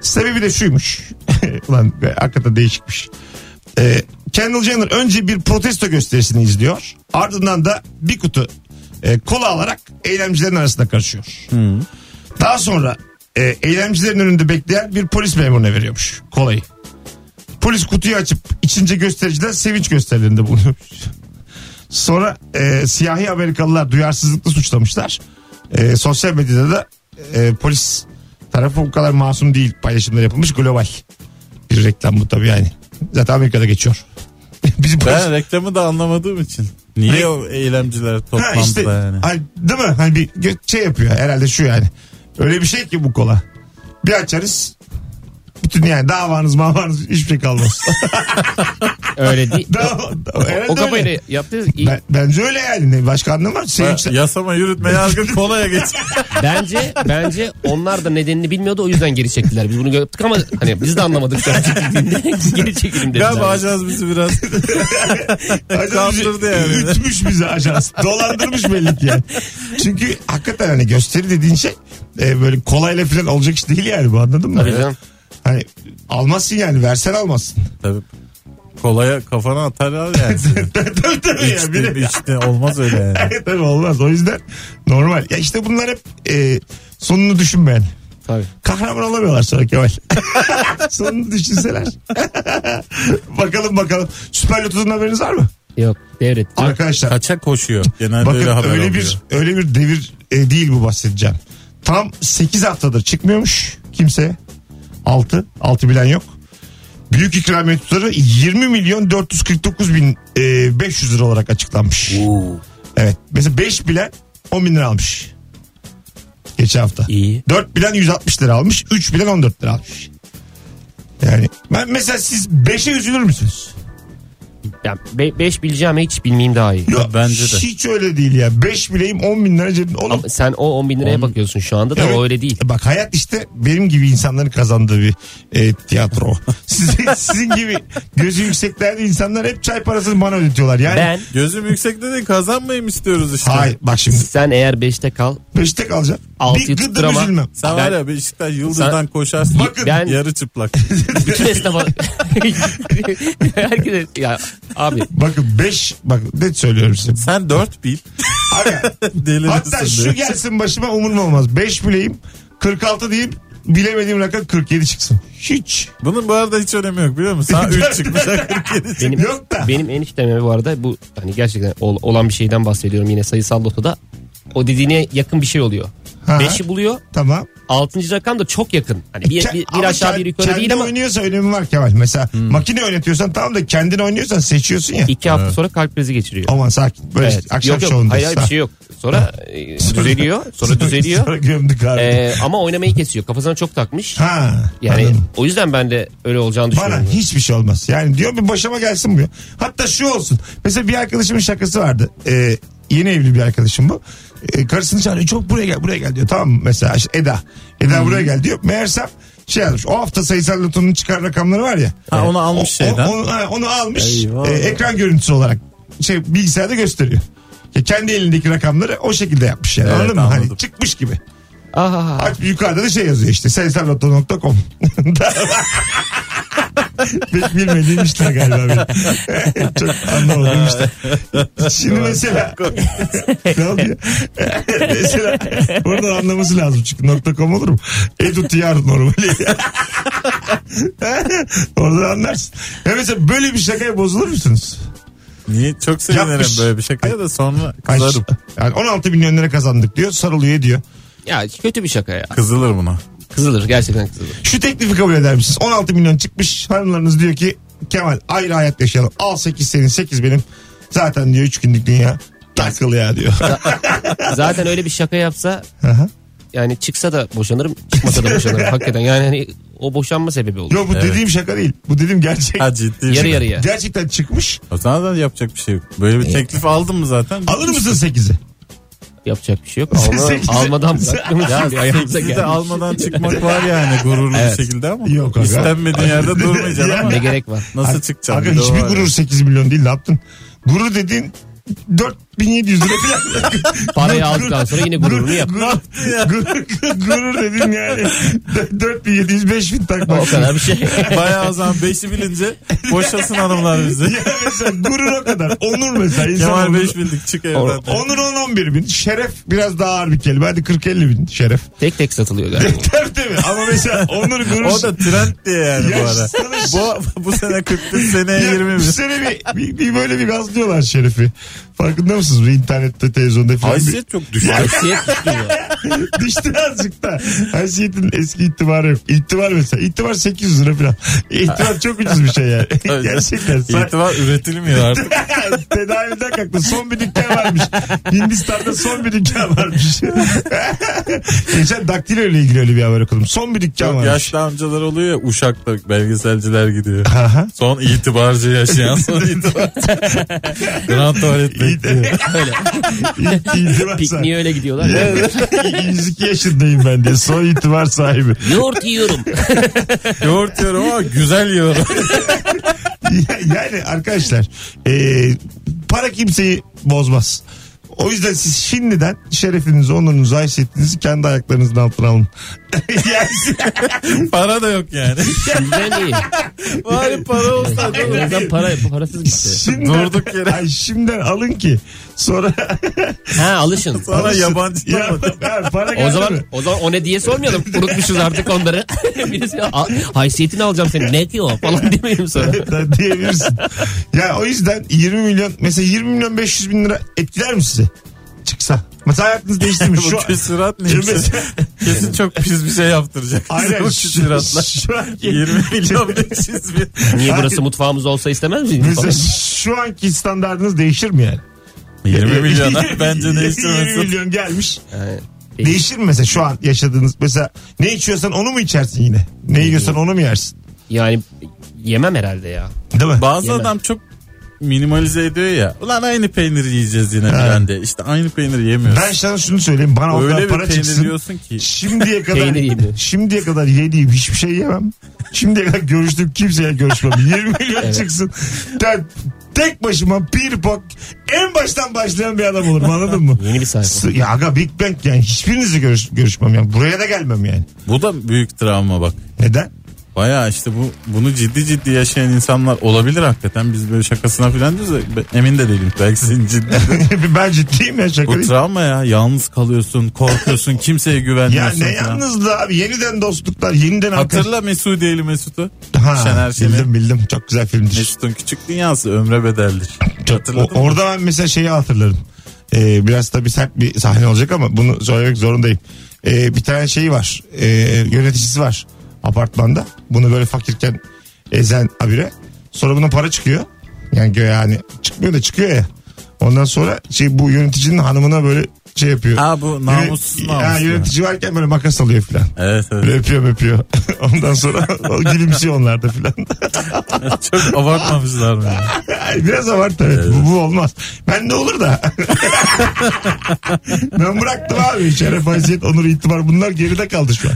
Speaker 2: Sebebi de şuymuş. Ulan be, hakikaten değişikmiş. Ee, Kendall Jenner önce bir protesto gösterisini izliyor. Ardından da bir kutu e, kola alarak eylemcilerin arasında karışıyor. Daha sonra e, eylemcilerin önünde bekleyen bir polis memuruna veriyormuş kolayı. Polis kutuyu açıp içince göstericiler sevinç gösterilerinde bulunuyormuş. Sonra e, siyahi Amerikalılar duyarsızlıkla suçlamışlar. E, sosyal medyada da e, polis tarafı bu kadar masum değil paylaşımlar yapılmış global bir reklam bu tabii yani. Zaten Amerika'da geçiyor. Bizim polis...
Speaker 3: Ben reklamı da anlamadığım için. Niye o eylemciler
Speaker 2: Ha
Speaker 3: toplandı
Speaker 2: işte
Speaker 3: da yani?
Speaker 2: hani, değil mi? Hani bir gö- şey yapıyor herhalde şu yani. Öyle bir şey ki bu kola. Bir açarız. Bütün yani davanız mavanız hiçbir şey kalmaz.
Speaker 4: Öyle değil.
Speaker 2: Dava, herhalde
Speaker 4: o
Speaker 2: öyle.
Speaker 4: kafayla yaptı. İyi-
Speaker 2: Ben, bence öyle yani. Ne- Başka anlamı var. şey
Speaker 3: Ha,
Speaker 2: Sevinçler.
Speaker 3: Yasama yürütme yargı kolaya geç.
Speaker 4: Bence bence onlar da nedenini bilmiyordu o yüzden geri çektiler. Biz bunu yaptık ama hani biz de anlamadık. sen çekildiğinde. geri çekelim dediler.
Speaker 3: Galiba ajans bizi biraz
Speaker 2: Ajans bizi
Speaker 3: Kandırdı yani.
Speaker 2: Ütmüş bizi ajans. Dolandırmış belli ki yani. Çünkü hakikaten hani gösteri dediğin şey e, böyle kolayla falan olacak iş değil yani bu anladın mı?
Speaker 4: Tabii canım.
Speaker 2: Hani almazsın yani versen almazsın.
Speaker 3: Tabii. Kolaya kafana atarlar yani. seni.
Speaker 2: tabii tabii yani. Bir de-
Speaker 3: İçti, içti olmaz öyle yani.
Speaker 2: Evet, tabii olmaz. O yüzden normal. Ya işte bunlar hep e, sonunu düşünmeyen.
Speaker 4: Tabii.
Speaker 2: Kahraman olamıyorlar sonra Kemal. sonunu düşünseler. bakalım bakalım. Süper Lotto'dan haberiniz var mı?
Speaker 4: Yok devretti.
Speaker 2: Arkadaşlar
Speaker 3: Kaçak koşuyor. Genelde
Speaker 2: bakın
Speaker 3: öyle
Speaker 2: öyle,
Speaker 3: haber oluyor.
Speaker 2: bir öyle bir devir e, değil bu bahsedeceğim. Tam 8 haftadır çıkmıyormuş kimse. 6. 6 bilen yok. Büyük ikramiye tutarı 20 milyon 449 bin e, 500 lira olarak açıklanmış. Evet. Mesela 5 bilen 10 bin lira almış. Geçen hafta.
Speaker 4: İyi.
Speaker 2: 4 bilen 160 lira almış. 3 bilen 14 lira almış. Yani ben mesela siz 5'e üzülür müsünüz?
Speaker 4: Yani be- beş bileceğime hiç bilmeyeyim daha iyi.
Speaker 2: Yok,
Speaker 3: bence de.
Speaker 2: Hiç öyle değil ya. 5 bileyim 10 bin lira cebimde. Oğlum,
Speaker 4: Ama sen o 10 bin liraya bakıyorsun şu anda da
Speaker 2: Evet. E
Speaker 4: o öyle değil.
Speaker 2: Bak hayat işte benim gibi insanların kazandığı bir e, tiyatro. sizin, sizin gibi gözü yükseklerde insanlar hep çay parasını bana ödetiyorlar. Yani
Speaker 4: Ben
Speaker 3: Gözüm yüksekte de kazanmayayım istiyoruz işte.
Speaker 2: Hayır bak şimdi
Speaker 4: sen eğer 5'te kal
Speaker 2: 5'te kalacağım.
Speaker 4: Altıyı
Speaker 2: Bir gıdım
Speaker 4: tutturama.
Speaker 2: üzülmem.
Speaker 3: Sen
Speaker 4: Ben-
Speaker 3: var ya Beşiktaş yıldızdan koşarsın.
Speaker 2: Bakın.
Speaker 4: Ben-
Speaker 3: yarı çıplak.
Speaker 4: bütün esnafa herkese ya abi
Speaker 2: Bakın 5 bak ne söylüyorum size.
Speaker 3: Sen dört bil.
Speaker 2: Abi,
Speaker 3: Delirirsin
Speaker 2: Hatta şu
Speaker 3: diyor.
Speaker 2: gelsin başıma umurum olmaz. 5 bileyim 46 deyip bilemediğim rakam 47 çıksın. Hiç.
Speaker 3: Bunun bu arada hiç önemi yok biliyor musun? Sana 3 çıkmış. ha 47 çıkmış.
Speaker 4: benim
Speaker 2: Yok da.
Speaker 4: benim enişteme bu arada bu hani gerçekten ol- olan bir şeyden bahsediyorum yine sayısal lotoda o dediğine yakın bir şey oluyor.
Speaker 2: Ha.
Speaker 4: 5'i buluyor
Speaker 2: Tamam.
Speaker 4: Altıncı rakam da çok yakın. Hani bir,
Speaker 2: Ke-
Speaker 4: bir, bir
Speaker 2: ama
Speaker 4: aşağı
Speaker 2: kend-
Speaker 4: bir yukarı
Speaker 2: kendi
Speaker 4: değil ama Hmm.
Speaker 2: oynuyorsa önemi var Kemal. Mesela makine oynatıyorsan tamam da kendin oynuyorsan seçiyorsun ya.
Speaker 4: iki hafta sonra kalp krizi geçiriyor.
Speaker 2: Aman sakin. Böyle
Speaker 4: Evet.
Speaker 2: akşam
Speaker 4: yok, yok.
Speaker 2: şovunda.
Speaker 4: Hayır hayır, bir şey yok. Sonra e, düzeliyor. Sonra düzeliyor.
Speaker 2: Sonra gömdük abi.
Speaker 4: E, ama oynamayı kesiyor. Kafasına çok takmış.
Speaker 2: ha.
Speaker 4: Yani
Speaker 2: anladım.
Speaker 4: o yüzden ben de öyle olacağını
Speaker 2: Bana
Speaker 4: düşünüyorum.
Speaker 2: hiçbir şey olmaz. Yani diyor bir başıma gelsin bu. ya. Hatta şu olsun. Mesela bir arkadaşımın şakası vardı. Ee, yeni evli bir arkadaşım bu. Ee, karısını çağırıyor. Çok buraya gel buraya gel diyor. Tamam mı? Mesela işte Eda. Eda buraya gel diyor. Meğersem şey yazmış. O hafta sayısal lotonun çıkar rakamları var ya.
Speaker 3: Ha, onu almış
Speaker 2: O- o-
Speaker 3: şeyden.
Speaker 2: onu, ha, onu almış.
Speaker 3: Eyvah.
Speaker 2: e, ekran görüntüsü olarak şey bilgisayarda gösteriyor. Ya E, kendi elindeki rakamları o şekilde yapmış yani.
Speaker 3: Evet,
Speaker 2: Anladın mı? Hani
Speaker 3: anladım.
Speaker 2: çıkmış gibi.
Speaker 4: Aha.
Speaker 2: Aç yukarıda da şey yazıyor işte. Sayısallotto.com. Pek bilmediğim işler galiba benim. Çok anlamadığım işler. Şimdi mesela ne oluyor? mesela buradan anlaması lazım çünkü nokta com olur mu? Edutiyar normali. Oradan anlarsın. Ya mesela böyle bir şakaya bozulur musunuz?
Speaker 3: Niye? Çok sevinirim
Speaker 2: Yapmış.
Speaker 3: böyle bir şakaya da sonra
Speaker 2: Ay,
Speaker 3: kızarım.
Speaker 2: Yani 16 milyon lira kazandık diyor. Sarılıyor diyor.
Speaker 4: Ya kötü bir şaka ya.
Speaker 3: Kızılır buna.
Speaker 4: Kızılır gerçekten kızılır.
Speaker 2: Şu teklifi kabul eder misiniz? 16 milyon çıkmış hanımlarınız diyor ki Kemal ayrı hayat yaşayalım. Al 8 senin 8 benim. Zaten diyor 3 günlük dünya. Takıl ya diyor.
Speaker 4: Zaten öyle bir şaka yapsa
Speaker 2: Aha.
Speaker 4: yani çıksa da boşanırım çıkmasa da boşanırım hakikaten. Yani hani o boşanma sebebi olur.
Speaker 2: Yok bu dediğim şaka değil. Bu dediğim gerçek.
Speaker 3: Ha ciddi.
Speaker 4: Yarı Ee, yarıya.
Speaker 2: Gerçekten çıkmış.
Speaker 3: O zaman da yapacak bir şey yok. Böyle bir teklif aldın mı zaten?
Speaker 2: Alır mısın 8'i?
Speaker 4: Yapacak bir şey yok. Alma,
Speaker 2: Sekizi-
Speaker 4: almadan bırakmamız
Speaker 3: Ya
Speaker 4: şimdi ayağımıza
Speaker 3: sekizi de
Speaker 4: geldi.
Speaker 3: almadan çıkmak var yani gururlu bir şekilde ama.
Speaker 2: Yok aga.
Speaker 3: İstenmediğin yerde durmayacaksın
Speaker 2: Ya.
Speaker 3: ama.
Speaker 4: Ne gerek var?
Speaker 3: Nasıl çıkacaksın?
Speaker 2: Aga
Speaker 3: Bir de o
Speaker 2: hiçbir
Speaker 3: var.
Speaker 2: gurur 8 milyon değil ne yaptın? Gurur dediğin 4700 lira falan.
Speaker 4: Parayı aldıktan sonra yine gururunu yap.
Speaker 2: Gurur, gurur, gurur dedin yani. 4700 5000 takmak.
Speaker 4: O kadar bir şey.
Speaker 3: Bayağı o zaman beşi bilince boşasın hanımlar bizi.
Speaker 2: Ya mesela gurur o kadar. Onur mesela. insan
Speaker 3: Kemal
Speaker 2: onuru.
Speaker 3: 5 bildik çık evden.
Speaker 2: Onur 10-11 bin. Şeref biraz daha ağır bir kelime. Hadi 40-50 bin şeref.
Speaker 4: Tek tek satılıyor galiba.
Speaker 2: Tabii tabii. Ama mesela onur gurur.
Speaker 3: O da trend diye yani bu ara.
Speaker 2: Yaş tanış-
Speaker 3: Bu, bu sene 40 seneye
Speaker 2: Ya
Speaker 3: 20
Speaker 2: bir
Speaker 3: bin.
Speaker 2: sene bir, bir, bir böyle bir gazlıyorlar Şeref'i. Farkında mısınız? Bir internette, televizyonda falan. bir-
Speaker 3: Haysiyet çok düşük.
Speaker 4: Haysiyet tutuyor.
Speaker 2: Düştü azıcık da. Haysiyetin eski itibarı yok. İtibar mesela. İtibar 800 lira falan. İtibar çok ucuz bir şey yani.
Speaker 3: Tabii.
Speaker 2: Gerçekten. Sa-
Speaker 3: İtibar üretilmiyor artık.
Speaker 2: Tedaviden kalktı. Son bir dükkan varmış. Hindistan'da son bir dükkan varmış. Geçen daktilo ile ilgili öyle bir haber okudum. Son bir dükkan
Speaker 3: Çok
Speaker 2: varmış.
Speaker 3: yaşlı amcalar oluyor ya uşakta belgeselciler gidiyor.
Speaker 2: Aha.
Speaker 3: Son itibarcı yaşayan son itibarcı. Grand tuvalet bekliyor.
Speaker 2: İtibar
Speaker 4: Pikniğe
Speaker 2: sahibi.
Speaker 4: öyle gidiyorlar. Ya.
Speaker 2: 102 yaşındayım ben diye. Son itibar sahibi.
Speaker 4: Yoğurt yiyorum.
Speaker 3: Yoğurt yiyorum ama güzel yiyorum.
Speaker 2: yani arkadaşlar e, para kimseyi bozmaz. O yüzden siz şimdiden şerefinizi, onurunuzu, haysiyetinizi kendi ayaklarınızın altına alın. yani siz-
Speaker 3: Para da yok yani.
Speaker 4: Bizden iyi.
Speaker 3: Bari para olsa.
Speaker 4: O yüzden para, parasız gitti.
Speaker 2: şimdiden,
Speaker 3: Durduk yere.
Speaker 2: Ay şimdiden alın ki sonra
Speaker 4: Ha alışın.
Speaker 3: Sana yabancı
Speaker 2: Ya,
Speaker 3: olmadı.
Speaker 2: ya, para geldi
Speaker 4: O
Speaker 2: mi?
Speaker 4: zaman o zaman o ne diye sormayalım. Unutmuşuz artık onları. Birisi "A- haysiyetini alacağım seni. Ne diyor falan demeyelim sonra.
Speaker 2: Da diyebilirsin. Ya o yüzden 20 milyon mesela 20 milyon 500 bin lira etkiler mi sizi? Çıksa. Mesela hayatınız değişti mi? Şu
Speaker 3: Bu küsürat neyse.
Speaker 2: Mesela-
Speaker 3: Kesin çok pis bir şey yaptıracak.
Speaker 2: Aynen.
Speaker 3: Bu küsüratlar.
Speaker 2: Şu anki-
Speaker 3: 20 milyon 500 bin.
Speaker 4: Niye burası mutfağımız olsa istemez miydin?
Speaker 2: Mesela
Speaker 4: falan?
Speaker 2: şu anki standartınız değişir mi yani?
Speaker 3: 20 milyona bence
Speaker 2: 20
Speaker 3: değiştirmesin.
Speaker 2: milyon gelmiş.
Speaker 4: Yani
Speaker 2: Değişir mi mesela şu an yaşadığınız? Mesela ne içiyorsan onu mu içersin yine? Ne yiyorsan onu mu yersin?
Speaker 4: Yani yemem herhalde ya.
Speaker 2: Değil mi?
Speaker 3: Bazı
Speaker 4: Yemem.
Speaker 3: adam çok minimalize ediyor ya. Ulan aynı peyniri yiyeceğiz yine filan diye. İşte aynı peyniri yemiyoruz.
Speaker 2: ben sana şunu söyleyeyim. Bana o kadar
Speaker 3: Öyle bir
Speaker 2: para
Speaker 3: peynir
Speaker 2: çıksın.
Speaker 3: yiyorsun ki.
Speaker 2: Şimdiye
Speaker 4: Peynir
Speaker 2: kadar
Speaker 4: yedi.
Speaker 2: şimdiye kadar yediğim hiçbir şey yemem. Şimdiye kadar görüştüğüm kimseye görüşmem. 20 milyon çıksın. Ben tek başıma bir bok en baştan başlayan bir adam olurum anladın mı?
Speaker 4: Yeni bir sayfa.
Speaker 2: S- Ya aga Big Bang yani hiçbirinizle görüş, görüşmem yani. Buraya da gelmem yani.
Speaker 3: Bu da büyük travma bak.
Speaker 2: Neden?
Speaker 3: Baya işte bu bunu ciddi ciddi yaşayan insanlar olabilir hakikaten. Biz böyle şakasına filan diyoruz da ben emin de değilim. Belki senin ciddi.
Speaker 2: ben ciddiyim ya şaka
Speaker 3: bu
Speaker 2: değil.
Speaker 3: travma ya. Yalnız kalıyorsun, korkuyorsun, kimseye
Speaker 2: Ya
Speaker 3: güvenmiyorsun.
Speaker 2: ne
Speaker 3: filan.
Speaker 2: yalnızlığı abi yeniden dostluklar yeniden arkadaş-
Speaker 3: Hatırla Mesudiyeli Mesut'u.
Speaker 2: Ha,
Speaker 3: Şener Şen'i.
Speaker 2: Bildim bildim çok güzel filmdir.
Speaker 3: Mesut'un küçük dünyası ömre bedeldir.
Speaker 2: O,
Speaker 3: Hatırladın mı?
Speaker 2: orada ben mesela şeyi hatırlarım. Ee, biraz tabii sert bir sahne olacak ama bunu söylemek zorundayım. Ee, bir tane şeyi var ee, yöneticisi var apartmanda bunu böyle fakirken ezen abire sonra buna para çıkıyor. Yani gö- yani çıkmıyor da çıkıyor ya. Ondan sonra şey bu yöneticinin hanımına böyle şey yapıyor.
Speaker 3: Ha bu namussuz
Speaker 2: Yönet- Ha,
Speaker 3: namussuz.
Speaker 2: yönetici varken böyle makas alıyor filan.
Speaker 3: Evet
Speaker 2: Böyle
Speaker 3: evet.
Speaker 2: öpüyor öpüyor. Ondan sonra o gülümsüyor onlar da filan.
Speaker 3: Çok abartmamışlar mı? ya?
Speaker 2: Hayır biraz abarttı evet. Bu, bu olmaz. Ben de olur da. ben bıraktım abi. Şeref, haysiyet, onur, itibar bunlar geride kaldı şu an.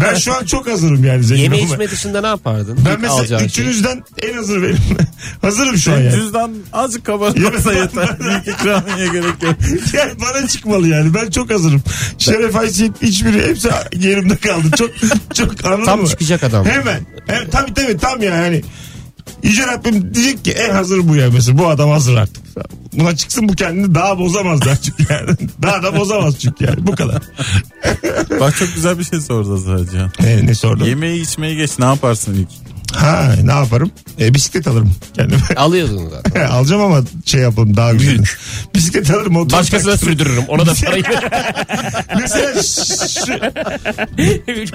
Speaker 2: Ben şu an çok hazırım yani zengin
Speaker 4: Yeme
Speaker 2: olmaya.
Speaker 4: içme dışında ne yapardın? İlk
Speaker 2: Ben mesela
Speaker 4: alacağın şey.
Speaker 2: üçünüzden en hazır benim. hazırım şu an
Speaker 3: Benim
Speaker 2: yani.
Speaker 3: Cüzdan azıcık kabartmasa yeter. Büyük ikramiye gerek yok.
Speaker 2: Yani bana çıkmalı yani. Ben çok hazırım. Şeref haysiyet hiçbiri hepsi yerimde kaldı. Çok çok anladın
Speaker 4: Tam
Speaker 2: mı?
Speaker 4: çıkacak adam.
Speaker 2: Hemen. Hem, tabii tabii tam yani. Hani, Yüce Rabbim diyecek ki en hazır bu ya mesela. Bu adam hazır artık. Buna çıksın bu kendini daha bozamaz der çünkü yani. Daha da bozamaz çünkü yani. Bu kadar.
Speaker 3: Bak çok güzel bir şey sordu Azra Can.
Speaker 2: Ee, ne sordun?
Speaker 3: Yemeği içmeyi geç ne yaparsın ilk?
Speaker 2: Ha ne yaparım? Ee, bisiklet alırım kendime.
Speaker 4: Alıyordun zaten.
Speaker 2: Alacağım ama şey yapalım daha güzel. bisiklet alırım. motor
Speaker 4: Başkasına
Speaker 2: taktırırım.
Speaker 4: sürdürürüm. Ona da parayı.
Speaker 2: Mesela şu,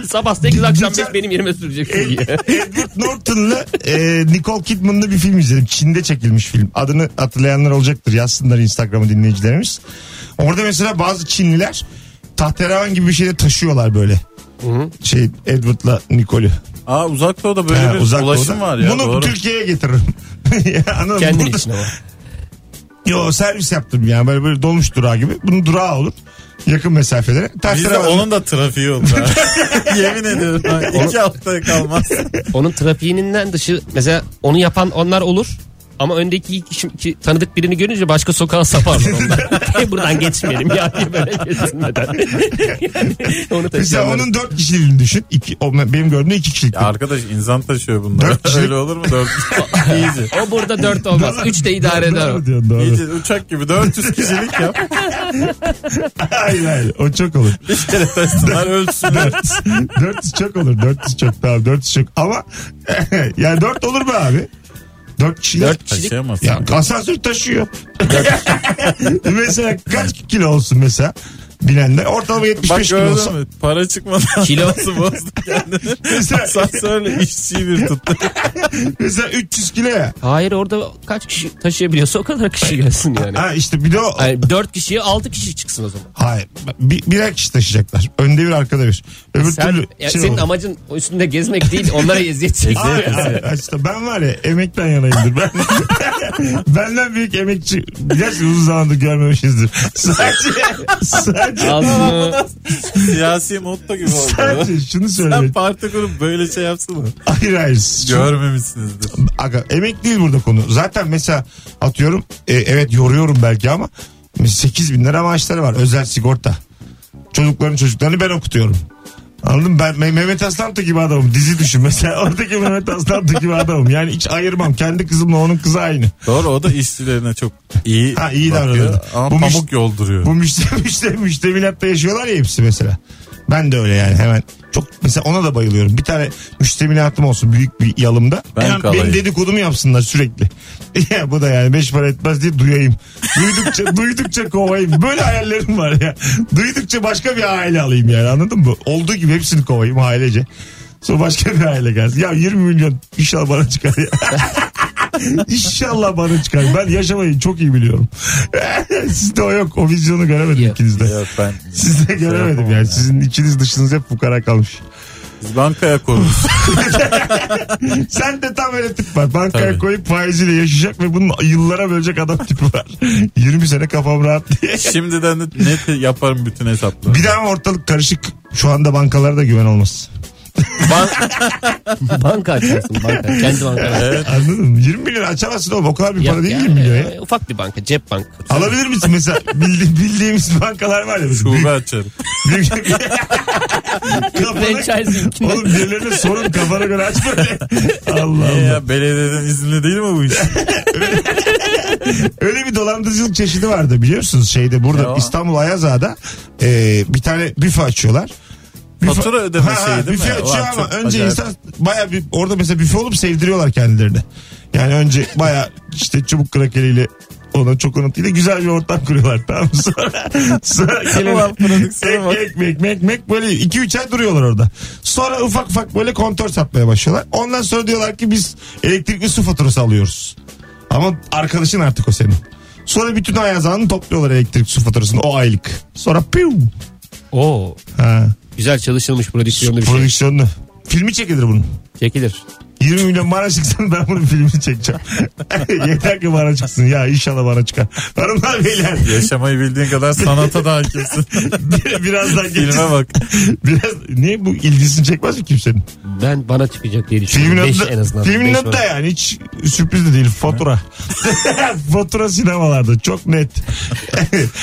Speaker 4: Sabah 8 akşam
Speaker 2: Güzel.
Speaker 4: beş benim yerime
Speaker 2: E,
Speaker 4: süreceksin diye.
Speaker 2: Edward Norton'la e, Nicole Kidman'lı bir film izledim. Çin'de çekilmiş film. Adını hatırlayanlar olacaktır. Yazsınlar Instagram'ı dinleyicilerimiz. Orada mesela bazı Çinliler tahterevan gibi bir şeyde taşıyorlar böyle. Şey Edward'la Nicole'ü.
Speaker 3: Aa uzak doğuda böyle
Speaker 2: Ha,
Speaker 3: bir
Speaker 2: uzak
Speaker 3: ulaşım
Speaker 2: doğuda.
Speaker 3: var ya.
Speaker 2: Bunu
Speaker 3: doğru.
Speaker 2: Türkiye'ye getiririm. ya, anladın mı?
Speaker 4: Kendin
Speaker 2: Burada-
Speaker 4: için ama.
Speaker 2: Yo servis yaptım yani böyle böyle dolmuş durağı gibi. Bunun durağı olur. Yakın mesafelere.
Speaker 3: Bizde
Speaker 2: Tahterevan.
Speaker 3: onun da trafiği olur. ha. Yemin ediyorum. ha, İki haftaya kalmaz.
Speaker 4: Onun trafiğinden dışı mesela onu yapan onlar olur. Ama öndeki iki kişi, iki tanıdık birini görünce başka sokağa saparlar onlar. Buradan geçmeyelim ya diye böyle kesilmeden. yani onu
Speaker 2: Mesela
Speaker 4: taşıyanlar.
Speaker 2: onun dört kişiliğini düşün. İki, o, benim gördüğümde iki kişilik.
Speaker 3: Ya arkadaş insan taşıyor bunları.
Speaker 2: Dört kişi-
Speaker 3: Öyle olur mu? Dört İyice.
Speaker 4: O burada dört olmaz. Üç de idare eder o.
Speaker 2: Doğru diyorsun, doğru.
Speaker 3: İyice uçak gibi 400 kişilik yap.
Speaker 2: Hayır hayır o çok olur.
Speaker 3: Bir kere taşsınlar ölsünler.
Speaker 2: 400 çok olur 400 çok tamam 400 çok ama yani 4 olur mu abi? 4 kişi.
Speaker 4: Dört kişilik.
Speaker 3: Taşıyamaz.
Speaker 2: Ya asansör taşıyor. mesela kaç kilo olsun mesela binenler? Ortalama
Speaker 3: Bak
Speaker 2: 75 kilo olsa.
Speaker 3: gördün mü? Para çıkmadan
Speaker 4: Kilo.
Speaker 3: kilosu bozdu kendini.
Speaker 2: Mesela,
Speaker 3: Asansörle işçiyi bir tuttu.
Speaker 2: mesela 300 kilo ya.
Speaker 4: Hayır orada kaç kişi taşıyabiliyorsa o kadar kişi gelsin yani.
Speaker 2: Ha işte bir de o.
Speaker 4: Yani dört kişiye altı kişi çıksın o zaman.
Speaker 2: Hayır. Bir, birer kişi taşıyacaklar. Önde bir arkada bir. Öbür
Speaker 4: Sen,
Speaker 2: türlü
Speaker 4: ya
Speaker 2: şey
Speaker 4: senin
Speaker 2: olur.
Speaker 4: amacın o üstünde gezmek değil onlara eziyet çekmek.
Speaker 2: Hayır, hayır. İşte ben var ya emekten yanayımdır. Ben, benden büyük emekçi. Gerçi uzun zamandır görmemişizdir. Sadece, sadece,
Speaker 4: Ağzını
Speaker 3: Siyasi motto gibi oldu.
Speaker 2: sadece şunu
Speaker 3: Sen
Speaker 2: söylemek.
Speaker 3: parti kurup böyle şey yapsın mı?
Speaker 2: Hayır hayır. Şu-
Speaker 3: Görmemişsinizdir.
Speaker 2: Aga, emek değil burada konu. Zaten mesela atıyorum e, evet yoruyorum belki ama 8 bin lira maaşları var özel sigorta. Çocukların çocuklarını ben okutuyorum. Anladın mı? Ben Me- Mehmet Aslantı gibi adamım. Dizi düşün mesela. Oradaki Mehmet Aslantı gibi adamım. Yani hiç ayırmam. Kendi kızımla onun kızı aynı.
Speaker 3: Doğru o da işçilerine çok iyi,
Speaker 2: Ha, iyi
Speaker 3: bakıyor
Speaker 2: davranıyordu.
Speaker 3: Ama
Speaker 2: Bu müş-
Speaker 3: pamuk yolduruyor.
Speaker 2: Bu müşte, müşte, müştemilatta yaşıyorlar ya hepsi mesela. Ben de öyle yani hemen. Çok mesela ona da bayılıyorum. Bir tane müştemilatım olsun büyük bir yalımda.
Speaker 3: Ben
Speaker 2: hemen
Speaker 3: kalayım.
Speaker 2: benim dedikodumu yapsınlar sürekli. ya bu da yani beş para etmez diye duyayım. Duydukça duydukça kovayım. Böyle hayallerim var ya. Duydukça başka bir aile alayım yani anladın mı? Olduğu gibi hepsini kovayım ailece. Sonra başka bir aile gelsin. Ya 20 milyon inşallah bana çıkar ya. İnşallah bana çıkar. Ben yaşamayı çok iyi biliyorum. Sizde o yok. O vizyonu göremedim
Speaker 4: Yok.
Speaker 2: ikinizde.
Speaker 3: Yok ben.
Speaker 2: Sizde göremedim yani.
Speaker 3: yapamam ya.
Speaker 2: Sizin içiniz dışınız hep fukara kalmış.
Speaker 3: Biz bankaya kurmuş.
Speaker 2: Sen de tam öyle tip var. Bankaya
Speaker 3: Tabii.
Speaker 2: koyup faiziyle yaşayacak ve bunu yıllara bölecek adam tipi var. 20 sene kafam rahat diye.
Speaker 3: Şimdiden de net yaparım bütün hesapları.
Speaker 2: Bir daha mı ortalık karışık? Şu anda bankalara da güven olmaz.
Speaker 4: banka açarsın banka. Kendi bankanı.
Speaker 3: Evet.
Speaker 2: Anladın mı? 20 milyon açamazsın oğlum. O kadar bir
Speaker 4: Ya-
Speaker 2: para değil
Speaker 4: ya-
Speaker 2: 20 milyon ya.
Speaker 4: e, Ufak bir banka, cep bankası.
Speaker 2: Alabilir misin mesela bildi- bildiğimiz bankalar var ya. bizim.
Speaker 3: Şube açarım.
Speaker 2: Büyük- Kafana,
Speaker 4: Franchising.
Speaker 2: oğlum birilerine sorun kafana göre açma. Allah
Speaker 3: E
Speaker 2: Allah.
Speaker 3: ya belediyeden izinli değil mi bu iş?
Speaker 2: Öyle bir dolandırıcılık çeşidi vardı biliyor musunuz? Şeyde burada
Speaker 3: Ya.
Speaker 2: İstanbul Ayazağa'da e, bir tane büfe açıyorlar. Büfe-
Speaker 3: Fatura ödeme şeyi şey değil mi?
Speaker 2: büfe açıyor
Speaker 3: Ulan
Speaker 2: ama
Speaker 3: çok
Speaker 2: önce
Speaker 3: acayip.
Speaker 2: insan baya bir orada mesela büfe olup sevdiriyorlar kendilerini. Yani önce baya işte çubuk krakeriyle ona çok unutuyla güzel bir ortam kuruyorlar tamam mı? Sonra, sonra gelene,
Speaker 3: Ulan prodüksiyona bak.
Speaker 2: ek, ekmek ekmek ekmek böyle 2-3 ay duruyorlar orada. Sonra ufak ufak böyle kontör satmaya başlıyorlar. Ondan sonra diyorlar ki biz elektrikli su faturası alıyoruz. Ama arkadaşın artık o senin. Sonra bütün ayazanını topluyorlar elektrik su faturasını o aylık. Sonra piu.
Speaker 4: Oo,
Speaker 2: Ha.
Speaker 4: güzel çalışılmış prodüksiyonlu bir şey.
Speaker 2: Prodüksiyonlu. Filmi çekilir bunun.
Speaker 4: Çekilir.
Speaker 2: 20 milyon bana çıksın ben bunun filmini çekeceğim. Yeter ki bana çıksın ya inşallah bana çıkar. Hanımlar beyler
Speaker 3: Yaşamayı bildiğin kadar sanata da hakimsin.
Speaker 2: bir- birazdan
Speaker 3: Filme
Speaker 2: geçeceğiz.
Speaker 3: bak.
Speaker 2: Biraz, niye bu ilgisini çekmez mi kimsenin?
Speaker 4: Ben bana çıkacak diye düşünüyorum.
Speaker 2: Filmin
Speaker 4: Beş
Speaker 2: adı,
Speaker 4: en azından.
Speaker 2: filmin
Speaker 4: Beş
Speaker 2: adı da
Speaker 4: var.
Speaker 2: yani hiç sürpriz de değil fatura. fatura sinemalarda çok net.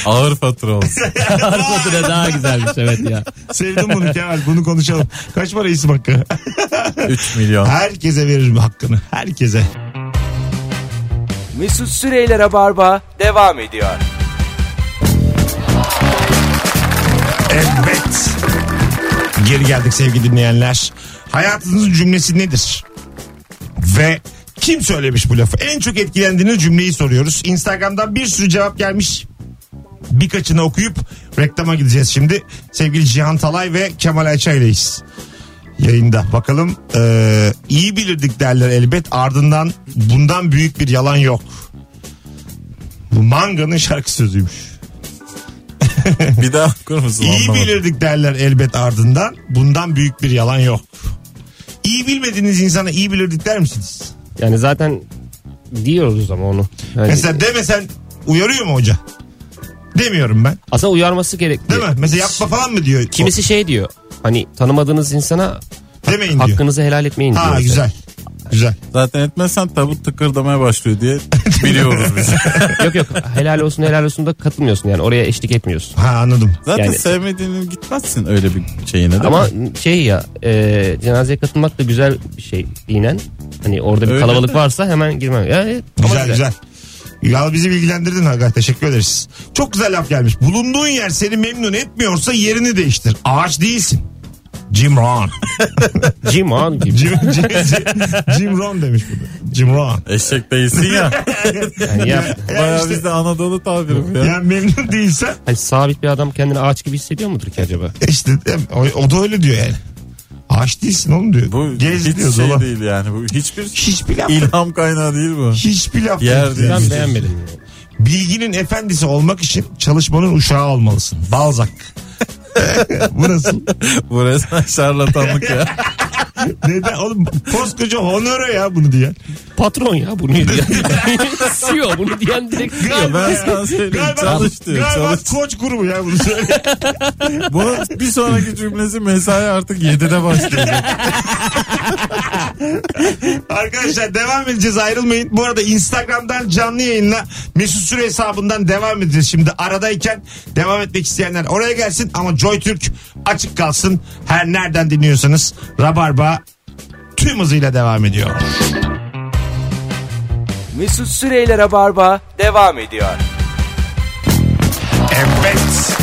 Speaker 3: Ağır fatura olsun.
Speaker 4: Arpa da daha güzelmiş evet ya.
Speaker 2: Sevdim bunu Kemal bunu konuşalım. Kaç para isim hakkı?
Speaker 3: 3 milyon.
Speaker 2: Herkese veririm hakkını herkese.
Speaker 1: Mesut Süreyler'e barba devam ediyor.
Speaker 2: Evet. Geri geldik sevgili dinleyenler. Hayatınızın cümlesi nedir? Ve kim söylemiş bu lafı? En çok etkilendiğiniz cümleyi soruyoruz. Instagram'dan bir sürü cevap gelmiş. Birkaçını okuyup reklama gideceğiz şimdi. Sevgili Cihan Talay ve Kemal Ayça ileyiz. Yayında bakalım eee, iyi bilirdik derler elbet ardından bundan büyük bir yalan yok. Bu Manga'nın şarkı sözüymüş.
Speaker 3: Bir daha okur musun?
Speaker 2: İyi
Speaker 3: Anlamadım.
Speaker 2: bilirdik derler elbet ardından. Bundan büyük bir yalan yok. İyi bilmediğiniz insana iyi bilirdik der misiniz?
Speaker 4: Yani zaten diyoruz ama onu. Yani
Speaker 2: Mesela demesen uyarıyor mu hoca? Demiyorum ben.
Speaker 4: aslında uyarması gerekli.
Speaker 2: Değil mi? Mesela yapma falan mı diyor.
Speaker 4: Kimisi şey diyor. Hani tanımadığınız insana
Speaker 2: Demeyin diyor.
Speaker 4: hakkınızı helal etmeyin diyor.
Speaker 2: Ha
Speaker 4: mesela.
Speaker 2: güzel. Güzel.
Speaker 3: Zaten etmezsen tabut tıkırdamaya başlıyor diye biliyoruz biz.
Speaker 4: Yok yok helal olsun helal olsun da katılmıyorsun yani oraya eşlik etmiyorsun.
Speaker 2: Ha anladım.
Speaker 3: Zaten
Speaker 4: Yani-
Speaker 3: sevmediğinin gitmezsin öyle bir şeyine değil
Speaker 4: Ama
Speaker 3: mi?
Speaker 4: şey ya e, cenazeye katılmak da güzel bir şey dinen. Hani orada bir
Speaker 3: Öyle
Speaker 4: kalabalık
Speaker 3: de.
Speaker 4: varsa hemen girmem. Ya, e, evet, ama
Speaker 2: Güzel güzel. Ya bizi bilgilendirdin Hakan teşekkür ederiz. Çok güzel laf gelmiş. Bulunduğun yer seni memnun etmiyorsa yerini değiştir. Ağaç değilsin. Jim Rohn.
Speaker 4: Jim Han gibi.
Speaker 2: Jim, Jim, Jim Rohn demiş burada. Jim Rohn.
Speaker 3: Eşek değilsin ya.
Speaker 4: Yani ya,
Speaker 3: Baya
Speaker 2: işte-
Speaker 3: bizde Anadolu tabiri bu ya.
Speaker 2: Yani memnun değilsen
Speaker 4: hani sabit bir adam kendini ağaç gibi hissediyor mudur ki acaba?
Speaker 2: İşte e, o, o da öyle diyor yani. Ağaç değilsin oğlum diyor.
Speaker 3: Bu
Speaker 2: Gez
Speaker 3: hiç
Speaker 2: diyor
Speaker 3: şey
Speaker 2: dolan.
Speaker 3: değil yani. Bu hiçbir
Speaker 2: Hiçbir laf.
Speaker 3: ilham kaynağı değil bu.
Speaker 2: Hiçbir laf.
Speaker 3: Yer
Speaker 2: yok.
Speaker 3: değil.
Speaker 4: Ben
Speaker 3: Yani-
Speaker 4: beğenmedim. yani.
Speaker 2: Bilginin efendisi olmak için çalışmanın uşağı olmalısın. Balzak. Bu nasıl?
Speaker 3: Bu resmen şarlatanlık ya.
Speaker 2: Neden? Oğlum koskoca honoro ya bunu diyen.
Speaker 4: Patron ya bunu diyen. CEO bunu diyen direkt CEO.
Speaker 3: ben sana söyleyeyim.
Speaker 2: Galiba,
Speaker 3: Çalış diyor.
Speaker 2: galiba
Speaker 3: Çalış.
Speaker 2: koç grubu ya bunu söyle.
Speaker 3: Bunun bir sonraki cümlesi mesai artık 7'de başlayacak.
Speaker 2: Arkadaşlar devam edeceğiz ayrılmayın. Bu arada Instagram'dan canlı yayınla Mesut Süre hesabından devam edeceğiz. Şimdi aradayken devam etmek isteyenler oraya gelsin ama Joy Türk açık kalsın. Her nereden dinliyorsanız Rabarba tüm hızıyla devam ediyor.
Speaker 1: Mesut Süreyler'e barba devam ediyor.
Speaker 2: Evet.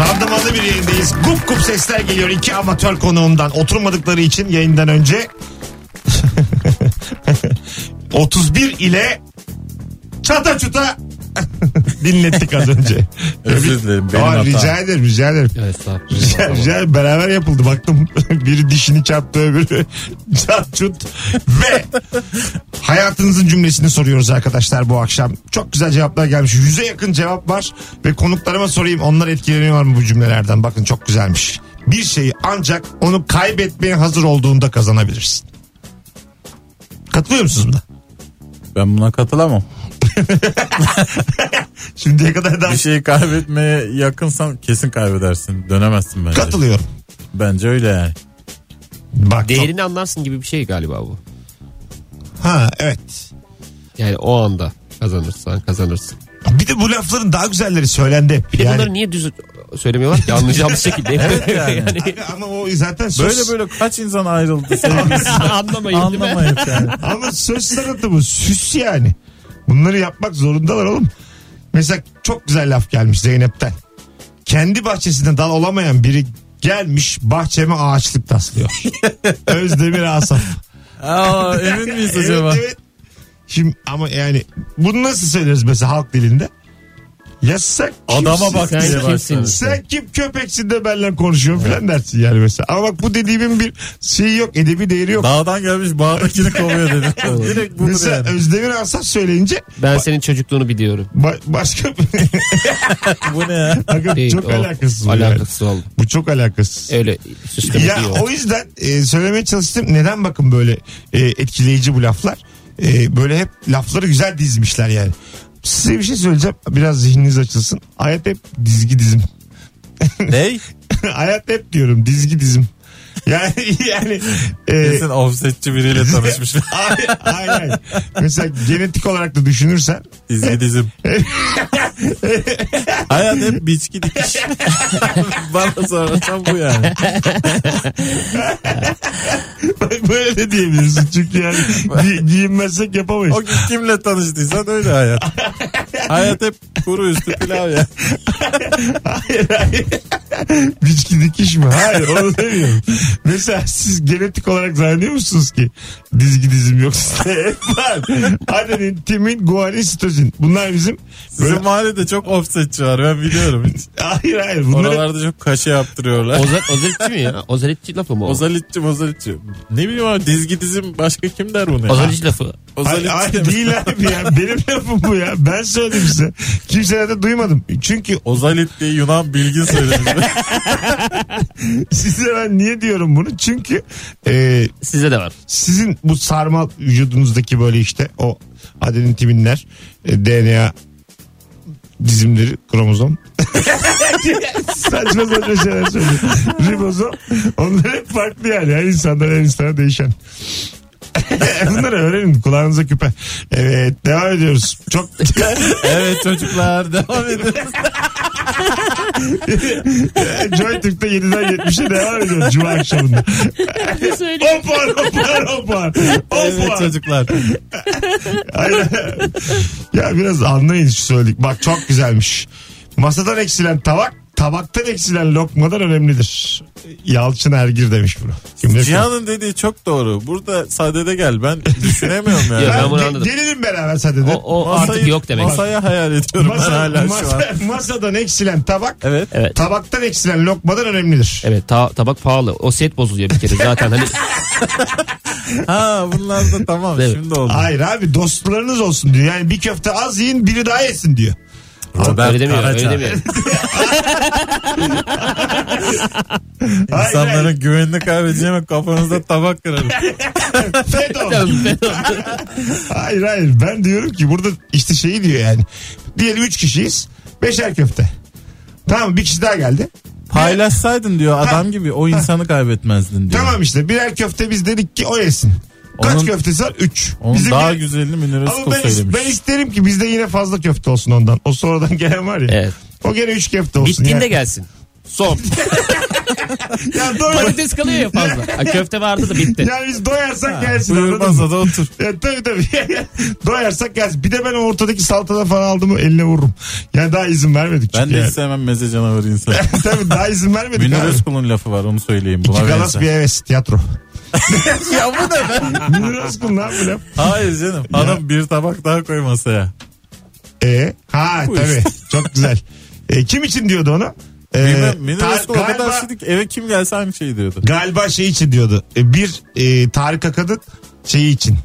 Speaker 2: Randımanlı bir yayındayız. Gup gup sesler geliyor iki amatör konuğumdan. Oturmadıkları için yayından önce 31 ile çata çuta dinlettik az önce.
Speaker 3: Özür dilerim, benim
Speaker 2: Aa,
Speaker 3: hatam.
Speaker 2: rica ederim rica ederim.
Speaker 4: Evet, estağfurullah.
Speaker 2: Rica, rica ederim. beraber yapıldı baktım. biri dişini çarptı öbürü çat çut. Ve hayatınızın cümlesini soruyoruz arkadaşlar bu akşam. Çok güzel cevaplar gelmiş. Yüze yakın cevap var. Ve konuklarıma sorayım onlar etkileniyor mu bu cümlelerden? Bakın çok güzelmiş. Bir şeyi ancak onu kaybetmeye hazır olduğunda kazanabilirsin. Katılıyor musunuz buna?
Speaker 3: Ben buna katılamam.
Speaker 2: Şimdiye kadar daha
Speaker 3: Bir şeyi kaybetmeye yakınsan kesin kaybedersin. Dönemezsin bence.
Speaker 2: katılıyorum.
Speaker 3: Bence öyle yani.
Speaker 2: Bak çok-
Speaker 4: Değerini anlarsın gibi bir şey galiba bu.
Speaker 2: Ha evet.
Speaker 4: Yani o anda kazanırsan kazanırsın.
Speaker 2: Bir de bu lafların daha güzelleri söylendi. hep.
Speaker 4: Bir de
Speaker 2: Yani-
Speaker 4: bunları niye düz söylemiyorlar ki anlayacağımız şekilde. evet yani.
Speaker 2: ama o zaten söz.
Speaker 3: Böyle böyle kaç insan ayrıldı sevgilisi.
Speaker 4: Anlamayın değil mi?
Speaker 3: Anlamayıp yani.
Speaker 2: Ama söz sanatı bu süs yani. Bunları yapmak zorundalar oğlum. Mesela çok güzel laf gelmiş Zeynep'ten. Kendi bahçesinde dal olamayan biri gelmiş bahçeme ağaçlık taslıyor. Özdemir Asaf.
Speaker 3: Aa, emin miyiz acaba?
Speaker 2: Evet, evet. Şimdi ama yani bunu nasıl söyleriz mesela halk dilinde? Ya sen kimsin?
Speaker 3: Adama bak
Speaker 4: Sen
Speaker 3: diye
Speaker 4: kimsin?
Speaker 3: başladı.
Speaker 2: Sen kim köpeksin de benimle konuşuyorsun falan dersin yani mesela. Ama bak bu dediğimin bir şeyi yok. Edebi değeri yok.
Speaker 3: Dağdan gelmiş bağdakini kovuyor dedi. Direkt budur
Speaker 2: Mesela
Speaker 3: yani.
Speaker 2: Özdemir Asaf söyleyince
Speaker 4: Ben senin çocukluğunu biliyorum.
Speaker 2: ba- başka
Speaker 3: Bu ne ya?
Speaker 2: Aga,
Speaker 4: Değil,
Speaker 2: çok
Speaker 4: o-
Speaker 2: alakasız. bu yani.
Speaker 4: Alakası oldu.
Speaker 2: Bu çok alakasız.
Speaker 4: Öyle süsleme
Speaker 2: ya
Speaker 4: diyor.
Speaker 2: o yüzden e, söylemeye çalıştım. Neden bakın böyle e, etkileyici bu laflar? E, böyle hep lafları güzel dizmişler yani. Size bir şey söyleyeceğim. Biraz zihniniz açılsın. Hayat hep dizgi dizim.
Speaker 3: Ney?
Speaker 2: Hayat hep diyorum dizgi dizim. Yani yani e,
Speaker 3: Kesin offsetçi biriyle tanışmış.
Speaker 2: ay- ay- ay. Mesela genetik olarak da düşünürsen
Speaker 3: Dizgi dizim. Hayat hep biçki dikiş. Bana sorarsan bu yani.
Speaker 2: bak böyle de diyebilirsin. Çünkü yani gi- giyinmezsek yapamayız.
Speaker 3: O gün kimle tanıştıysan öyle hayat. hayat hep kuru üstü pilav ya.
Speaker 2: Hayır hayır. Biçki dikiş mi? Hayır onu demiyorum. Mesela siz genetik olarak zannediyor musunuz ki dizgi dizim yok size? Hep var. Adenin, timin, guanin, sitozin. Bunlar bizim böyle...
Speaker 3: Bizim mahallede çok offsetçi var ben biliyorum. Hiç.
Speaker 2: Hayır hayır. Bunları
Speaker 3: Oralarda çok kaşe yaptırıyorlar.
Speaker 4: Ozel, ozelitçi mi ya? Ozelitçi lafı mı o?
Speaker 3: Ozalitçi mozalitçi. Ne bileyim abi dizgi dizim başka kim der bunu ya?
Speaker 4: Ozelitçi lafı.
Speaker 2: Hayır, hayır,
Speaker 3: Ozalitçi.
Speaker 2: değil abi ya. Benim lafım bu ya. Ben söyledim size. Kimseden de duymadım. Çünkü
Speaker 3: Ozalit diye Yunan bilgin söylemiş.
Speaker 2: size ben niye diyorum bunu? Çünkü e,
Speaker 4: Size de var.
Speaker 2: sizin bu sarmal vücudunuzdaki böyle işte o adenin timinler e, DNA dizimleri kromozom saçma saçma şeyler söylüyorum ribozom onlar hep farklı yani her insandan her insana değişen bunları öğrenin kulağınıza küpe evet devam ediyoruz çok
Speaker 3: evet çocuklar devam edin.
Speaker 2: Joy Türk'te 7'den 70'e devam ediyor cuma akşamında hopar hopar hopar
Speaker 3: evet
Speaker 2: hopar
Speaker 3: çocuklar.
Speaker 2: Aynen. ya biraz anlayın şu söyledik. Bak çok güzelmiş. Masadan eksilen tabak, tabaktan eksilen lokmadan önemlidir. Yalçın Ergir demiş bunu. Kim bilir-
Speaker 3: Cihan'ın dediği çok doğru. Burada sadede gel ben düşünemiyorum yani.
Speaker 4: Ya
Speaker 2: Ben
Speaker 4: ben bunu
Speaker 2: ge-
Speaker 4: anladım.
Speaker 2: gelelim beraber sadede.
Speaker 4: O, o artık yok demek.
Speaker 3: Masaya hayal ediyorum ben hala şu an.
Speaker 2: masa- masadan eksilen tabak,
Speaker 3: Evet.
Speaker 4: Evet.
Speaker 2: tabaktan eksilen lokmadan önemlidir.
Speaker 4: Evet ta- tabak pahalı. O set bozuluyor bir kere zaten. Hani
Speaker 3: Ha bunlar da tamam
Speaker 4: Evet.
Speaker 3: şimdi oldu.
Speaker 2: Hayır abi dostlarınız olsun diyor. Yani bir köfte az yiyin biri daha yesin diyor.
Speaker 4: öyle demiyor. Öyle demiyor.
Speaker 2: Hayır,
Speaker 3: İnsanların güvenini kaybedeceğime kafanızda tabak kırarım.
Speaker 2: hayır, FETÖ. Hayır hayır ben diyorum ki burada işte şeyi diyor yani. Diyelim 3 kişiyiz. Beşer köfte. Tamam bir kişi daha geldi.
Speaker 3: Paylaşsaydın diyor adam gibi o insanı kaybetmezdin diyor.
Speaker 2: Tamam işte birer köfte biz dedik ki o yesin. Kaç
Speaker 3: Onun-
Speaker 2: köftesi var? 3.
Speaker 3: Onun daha güzelini Münir Özkul
Speaker 2: Ama ben, is-
Speaker 3: söylemiş.
Speaker 2: ben isterim ki bizde yine fazla köfte olsun ondan. O sonradan gelen var ya.
Speaker 4: Evet.
Speaker 2: O gene 3 köfte olsun.
Speaker 4: Bittiğinde
Speaker 2: ya.
Speaker 4: gelsin. Son.
Speaker 2: Ya doy-
Speaker 4: Patates kalıyor ya fazla. Ha, köfte vardı da bitti.
Speaker 2: yani biz doyarsak gelsin. anladın mı?
Speaker 3: Buyurmazsa da otur.
Speaker 2: Ya tabii tabii. doyarsak gelsin. Bir de ben o ortadaki salatadan falan aldım eline vururum. Yani daha izin vermedik.
Speaker 3: Ben
Speaker 2: çünkü
Speaker 3: de
Speaker 2: yani.
Speaker 3: hiç sevmem meze canavarı insanı.
Speaker 2: Tabii daha izin vermedik.
Speaker 3: Münir
Speaker 2: abi.
Speaker 3: Özkul'un lafı var onu söyleyeyim.
Speaker 2: İki
Speaker 3: Buna
Speaker 2: galas bir
Speaker 3: benzer.
Speaker 2: heves tiyatro.
Speaker 3: Ya bu ne be?
Speaker 2: Münir Özkul ne yapıyor lan?
Speaker 3: Hayır canım. Adam bir tabak daha koy masaya.
Speaker 2: Ee, ha
Speaker 3: Bu
Speaker 2: tabii
Speaker 3: işte.
Speaker 2: çok güzel. Ee, kim için diyordu onu? Ee,
Speaker 3: Bilmem Münir
Speaker 2: ta-
Speaker 3: Özkul o kadar şey
Speaker 2: galiba,
Speaker 3: şidik eve kim gelse aynı şey diyordu.
Speaker 2: galiba şey için diyordu. Ee, bir e, Tarık Akad'ın şeyi için.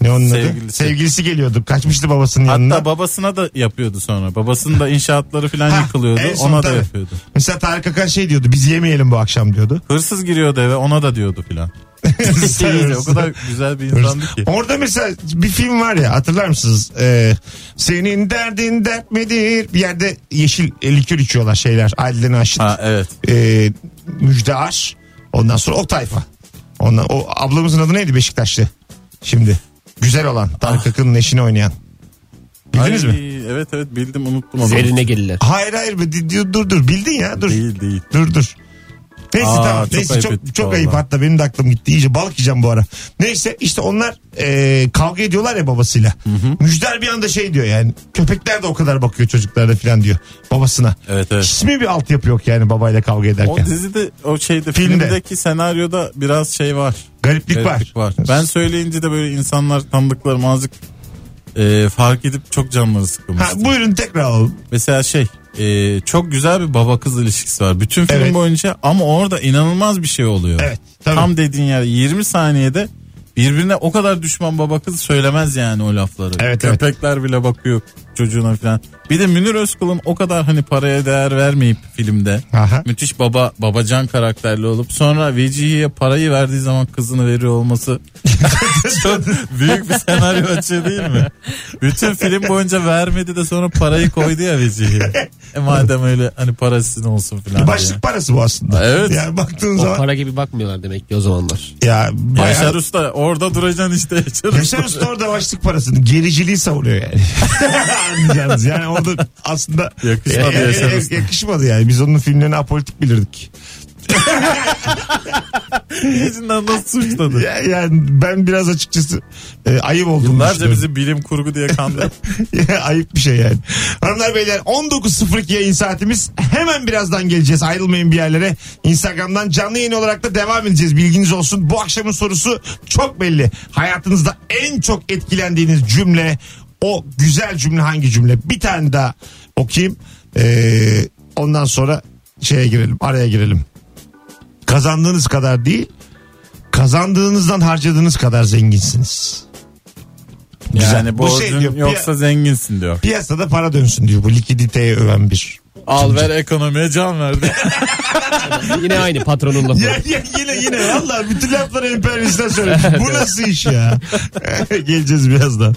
Speaker 2: Ne onun adı?
Speaker 3: Sevgilisi.
Speaker 2: Sevgilisi geliyordu. Kaçmıştı babasının yanına.
Speaker 3: Hatta babasına da yapıyordu sonra. Babasının da inşaatları falan
Speaker 2: Ha,
Speaker 3: yıkılıyordu.
Speaker 2: en son
Speaker 3: Ona da
Speaker 2: tabii.
Speaker 3: yapıyordu.
Speaker 2: Mesela Tarık Akan şey diyordu. Biz yemeyelim bu akşam diyordu.
Speaker 3: Hırsız giriyordu eve ona da diyordu filan. o kadar güzel bir
Speaker 2: Hırs-
Speaker 3: insandı ki.
Speaker 2: Orada mesela bir film var ya hatırlar mısınız? Ee, senin derdin dert midir? Bir yerde yeşil e, likör içiyorlar şeyler. Adile Naşit.
Speaker 3: Ha evet.
Speaker 2: e, Müjde Ar. Ondan sonra o tayfa. Ondan, o ablamızın adı neydi Beşiktaşlı? Şimdi. Güzel olan.
Speaker 3: Ah.
Speaker 2: Tarık Akın'ın eşini oynayan. Bildiniz
Speaker 3: Ay,
Speaker 2: mi?
Speaker 3: Evet evet bildim unuttum onu.
Speaker 4: Zerine gelirler.
Speaker 2: Hayır hayır. be- di- di- Dur dur. Bildin ya. Dur.
Speaker 3: Değil değil.
Speaker 2: Dur dur. Neyse
Speaker 3: Aa,
Speaker 2: tamam.
Speaker 3: çok
Speaker 2: Neyse,
Speaker 3: ayıp
Speaker 2: çok,
Speaker 3: ettik
Speaker 2: çok
Speaker 3: vallahi.
Speaker 2: ayıp hatta benim de aklım gitti. İyice balık yiyeceğim bu ara. Neyse işte onlar e, kavga ediyorlar ya babasıyla. Müjder bir anda şey diyor yani köpekler de o kadar bakıyor çocuklara falan diyor babasına.
Speaker 3: Evet evet.
Speaker 2: Hiç mi bir altyapı yok yani babayla kavga
Speaker 3: O
Speaker 2: ederken?
Speaker 3: dizide o şeyde
Speaker 2: Filmde.
Speaker 3: filmdeki senaryoda biraz şey var.
Speaker 2: Gariplik, var.
Speaker 3: Gariplik Ben söyleyince de böyle insanlar tanıdıklarım azıcık e, fark edip çok canları
Speaker 2: Ha,
Speaker 3: sıkılmıştım.
Speaker 2: buyurun tekrar alalım.
Speaker 3: Mesela şey e, çok güzel bir baba kız ilişkisi var. Bütün film
Speaker 2: Evet.
Speaker 3: boyunca ama orada inanılmaz bir şey oluyor.
Speaker 2: Evet, tabii.
Speaker 3: Tam dediğin yer 20 saniyede birbirine o kadar düşman baba kız söylemez yani o lafları.
Speaker 2: Evet, evet.
Speaker 3: Köpekler bile bakıyor çocuğuna falan. Bir de Münir Özkul'un o kadar hani paraya değer vermeyip filmde
Speaker 2: Aha.
Speaker 3: müthiş baba babacan karakterli olup sonra Vecihi'ye parayı verdiği zaman kızını veriyor olması çok büyük bir senaryo açığı değil mi? Bütün film boyunca vermedi de sonra parayı koydu ya Vecihi'ye. E madem öyle hani para sizin olsun falan diye.
Speaker 2: Başlık parası bu aslında.
Speaker 3: Evet.
Speaker 2: Yani baktığın
Speaker 4: O
Speaker 2: zaman
Speaker 4: para gibi bakmıyorlar demek ki o zamanlar.
Speaker 2: ya bayağı...
Speaker 3: Yaşar Usta orada duracaksın işte Yaşar Usta.
Speaker 2: Yaşar Usta orada başlık parasını gericiliği savunuyor yani. Anlayacağınız yani orada aslında
Speaker 3: Yakışmadı
Speaker 2: Ya- ya-
Speaker 3: Yaşar
Speaker 2: ya-
Speaker 3: Usta.
Speaker 2: yakışmadı yani. Biz onun filmlerini apolitik bilirdik.
Speaker 3: Yüzünden nasıl suçladı?
Speaker 2: Ya- Yani ben biraz açıkçası e, ayıp olduğunu
Speaker 3: Yıllarca
Speaker 2: düşünüyorum.
Speaker 3: bizi bilim kurgu diye kandırdı.
Speaker 2: Ayıp bir şey yani. Hanımlar beyler 19.02 yayın saatimiz. Hemen birazdan geleceğiz. Ayrılmayın bir yerlere. Instagram'dan canlı yayın olarak da devam edeceğiz. Bilginiz olsun. Bu akşamın sorusu çok belli. Hayatınızda en çok etkilendiğiniz cümle o güzel cümle hangi cümle? Bir tane daha okuyayım. Ee, ondan sonra şeye girelim. Araya girelim. Kazandığınız kadar değil kazandığınızdan harcadığınız kadar zenginsiniz.
Speaker 3: Yani
Speaker 2: Bu şey
Speaker 3: borcun
Speaker 2: diyor,
Speaker 3: yoksa
Speaker 2: piya-
Speaker 3: zenginsin diyor.
Speaker 2: Piyasada para dönsün diyor bu likiditeye öven bir
Speaker 3: Al ver ekonomiye can ver. diyor.
Speaker 4: Yine aynı patronun lafı.
Speaker 2: Ya, ya, yine yine valla bütün lafları emperyalistler söylemiş. Bu nasıl iş ya? Geleceğiz birazdan.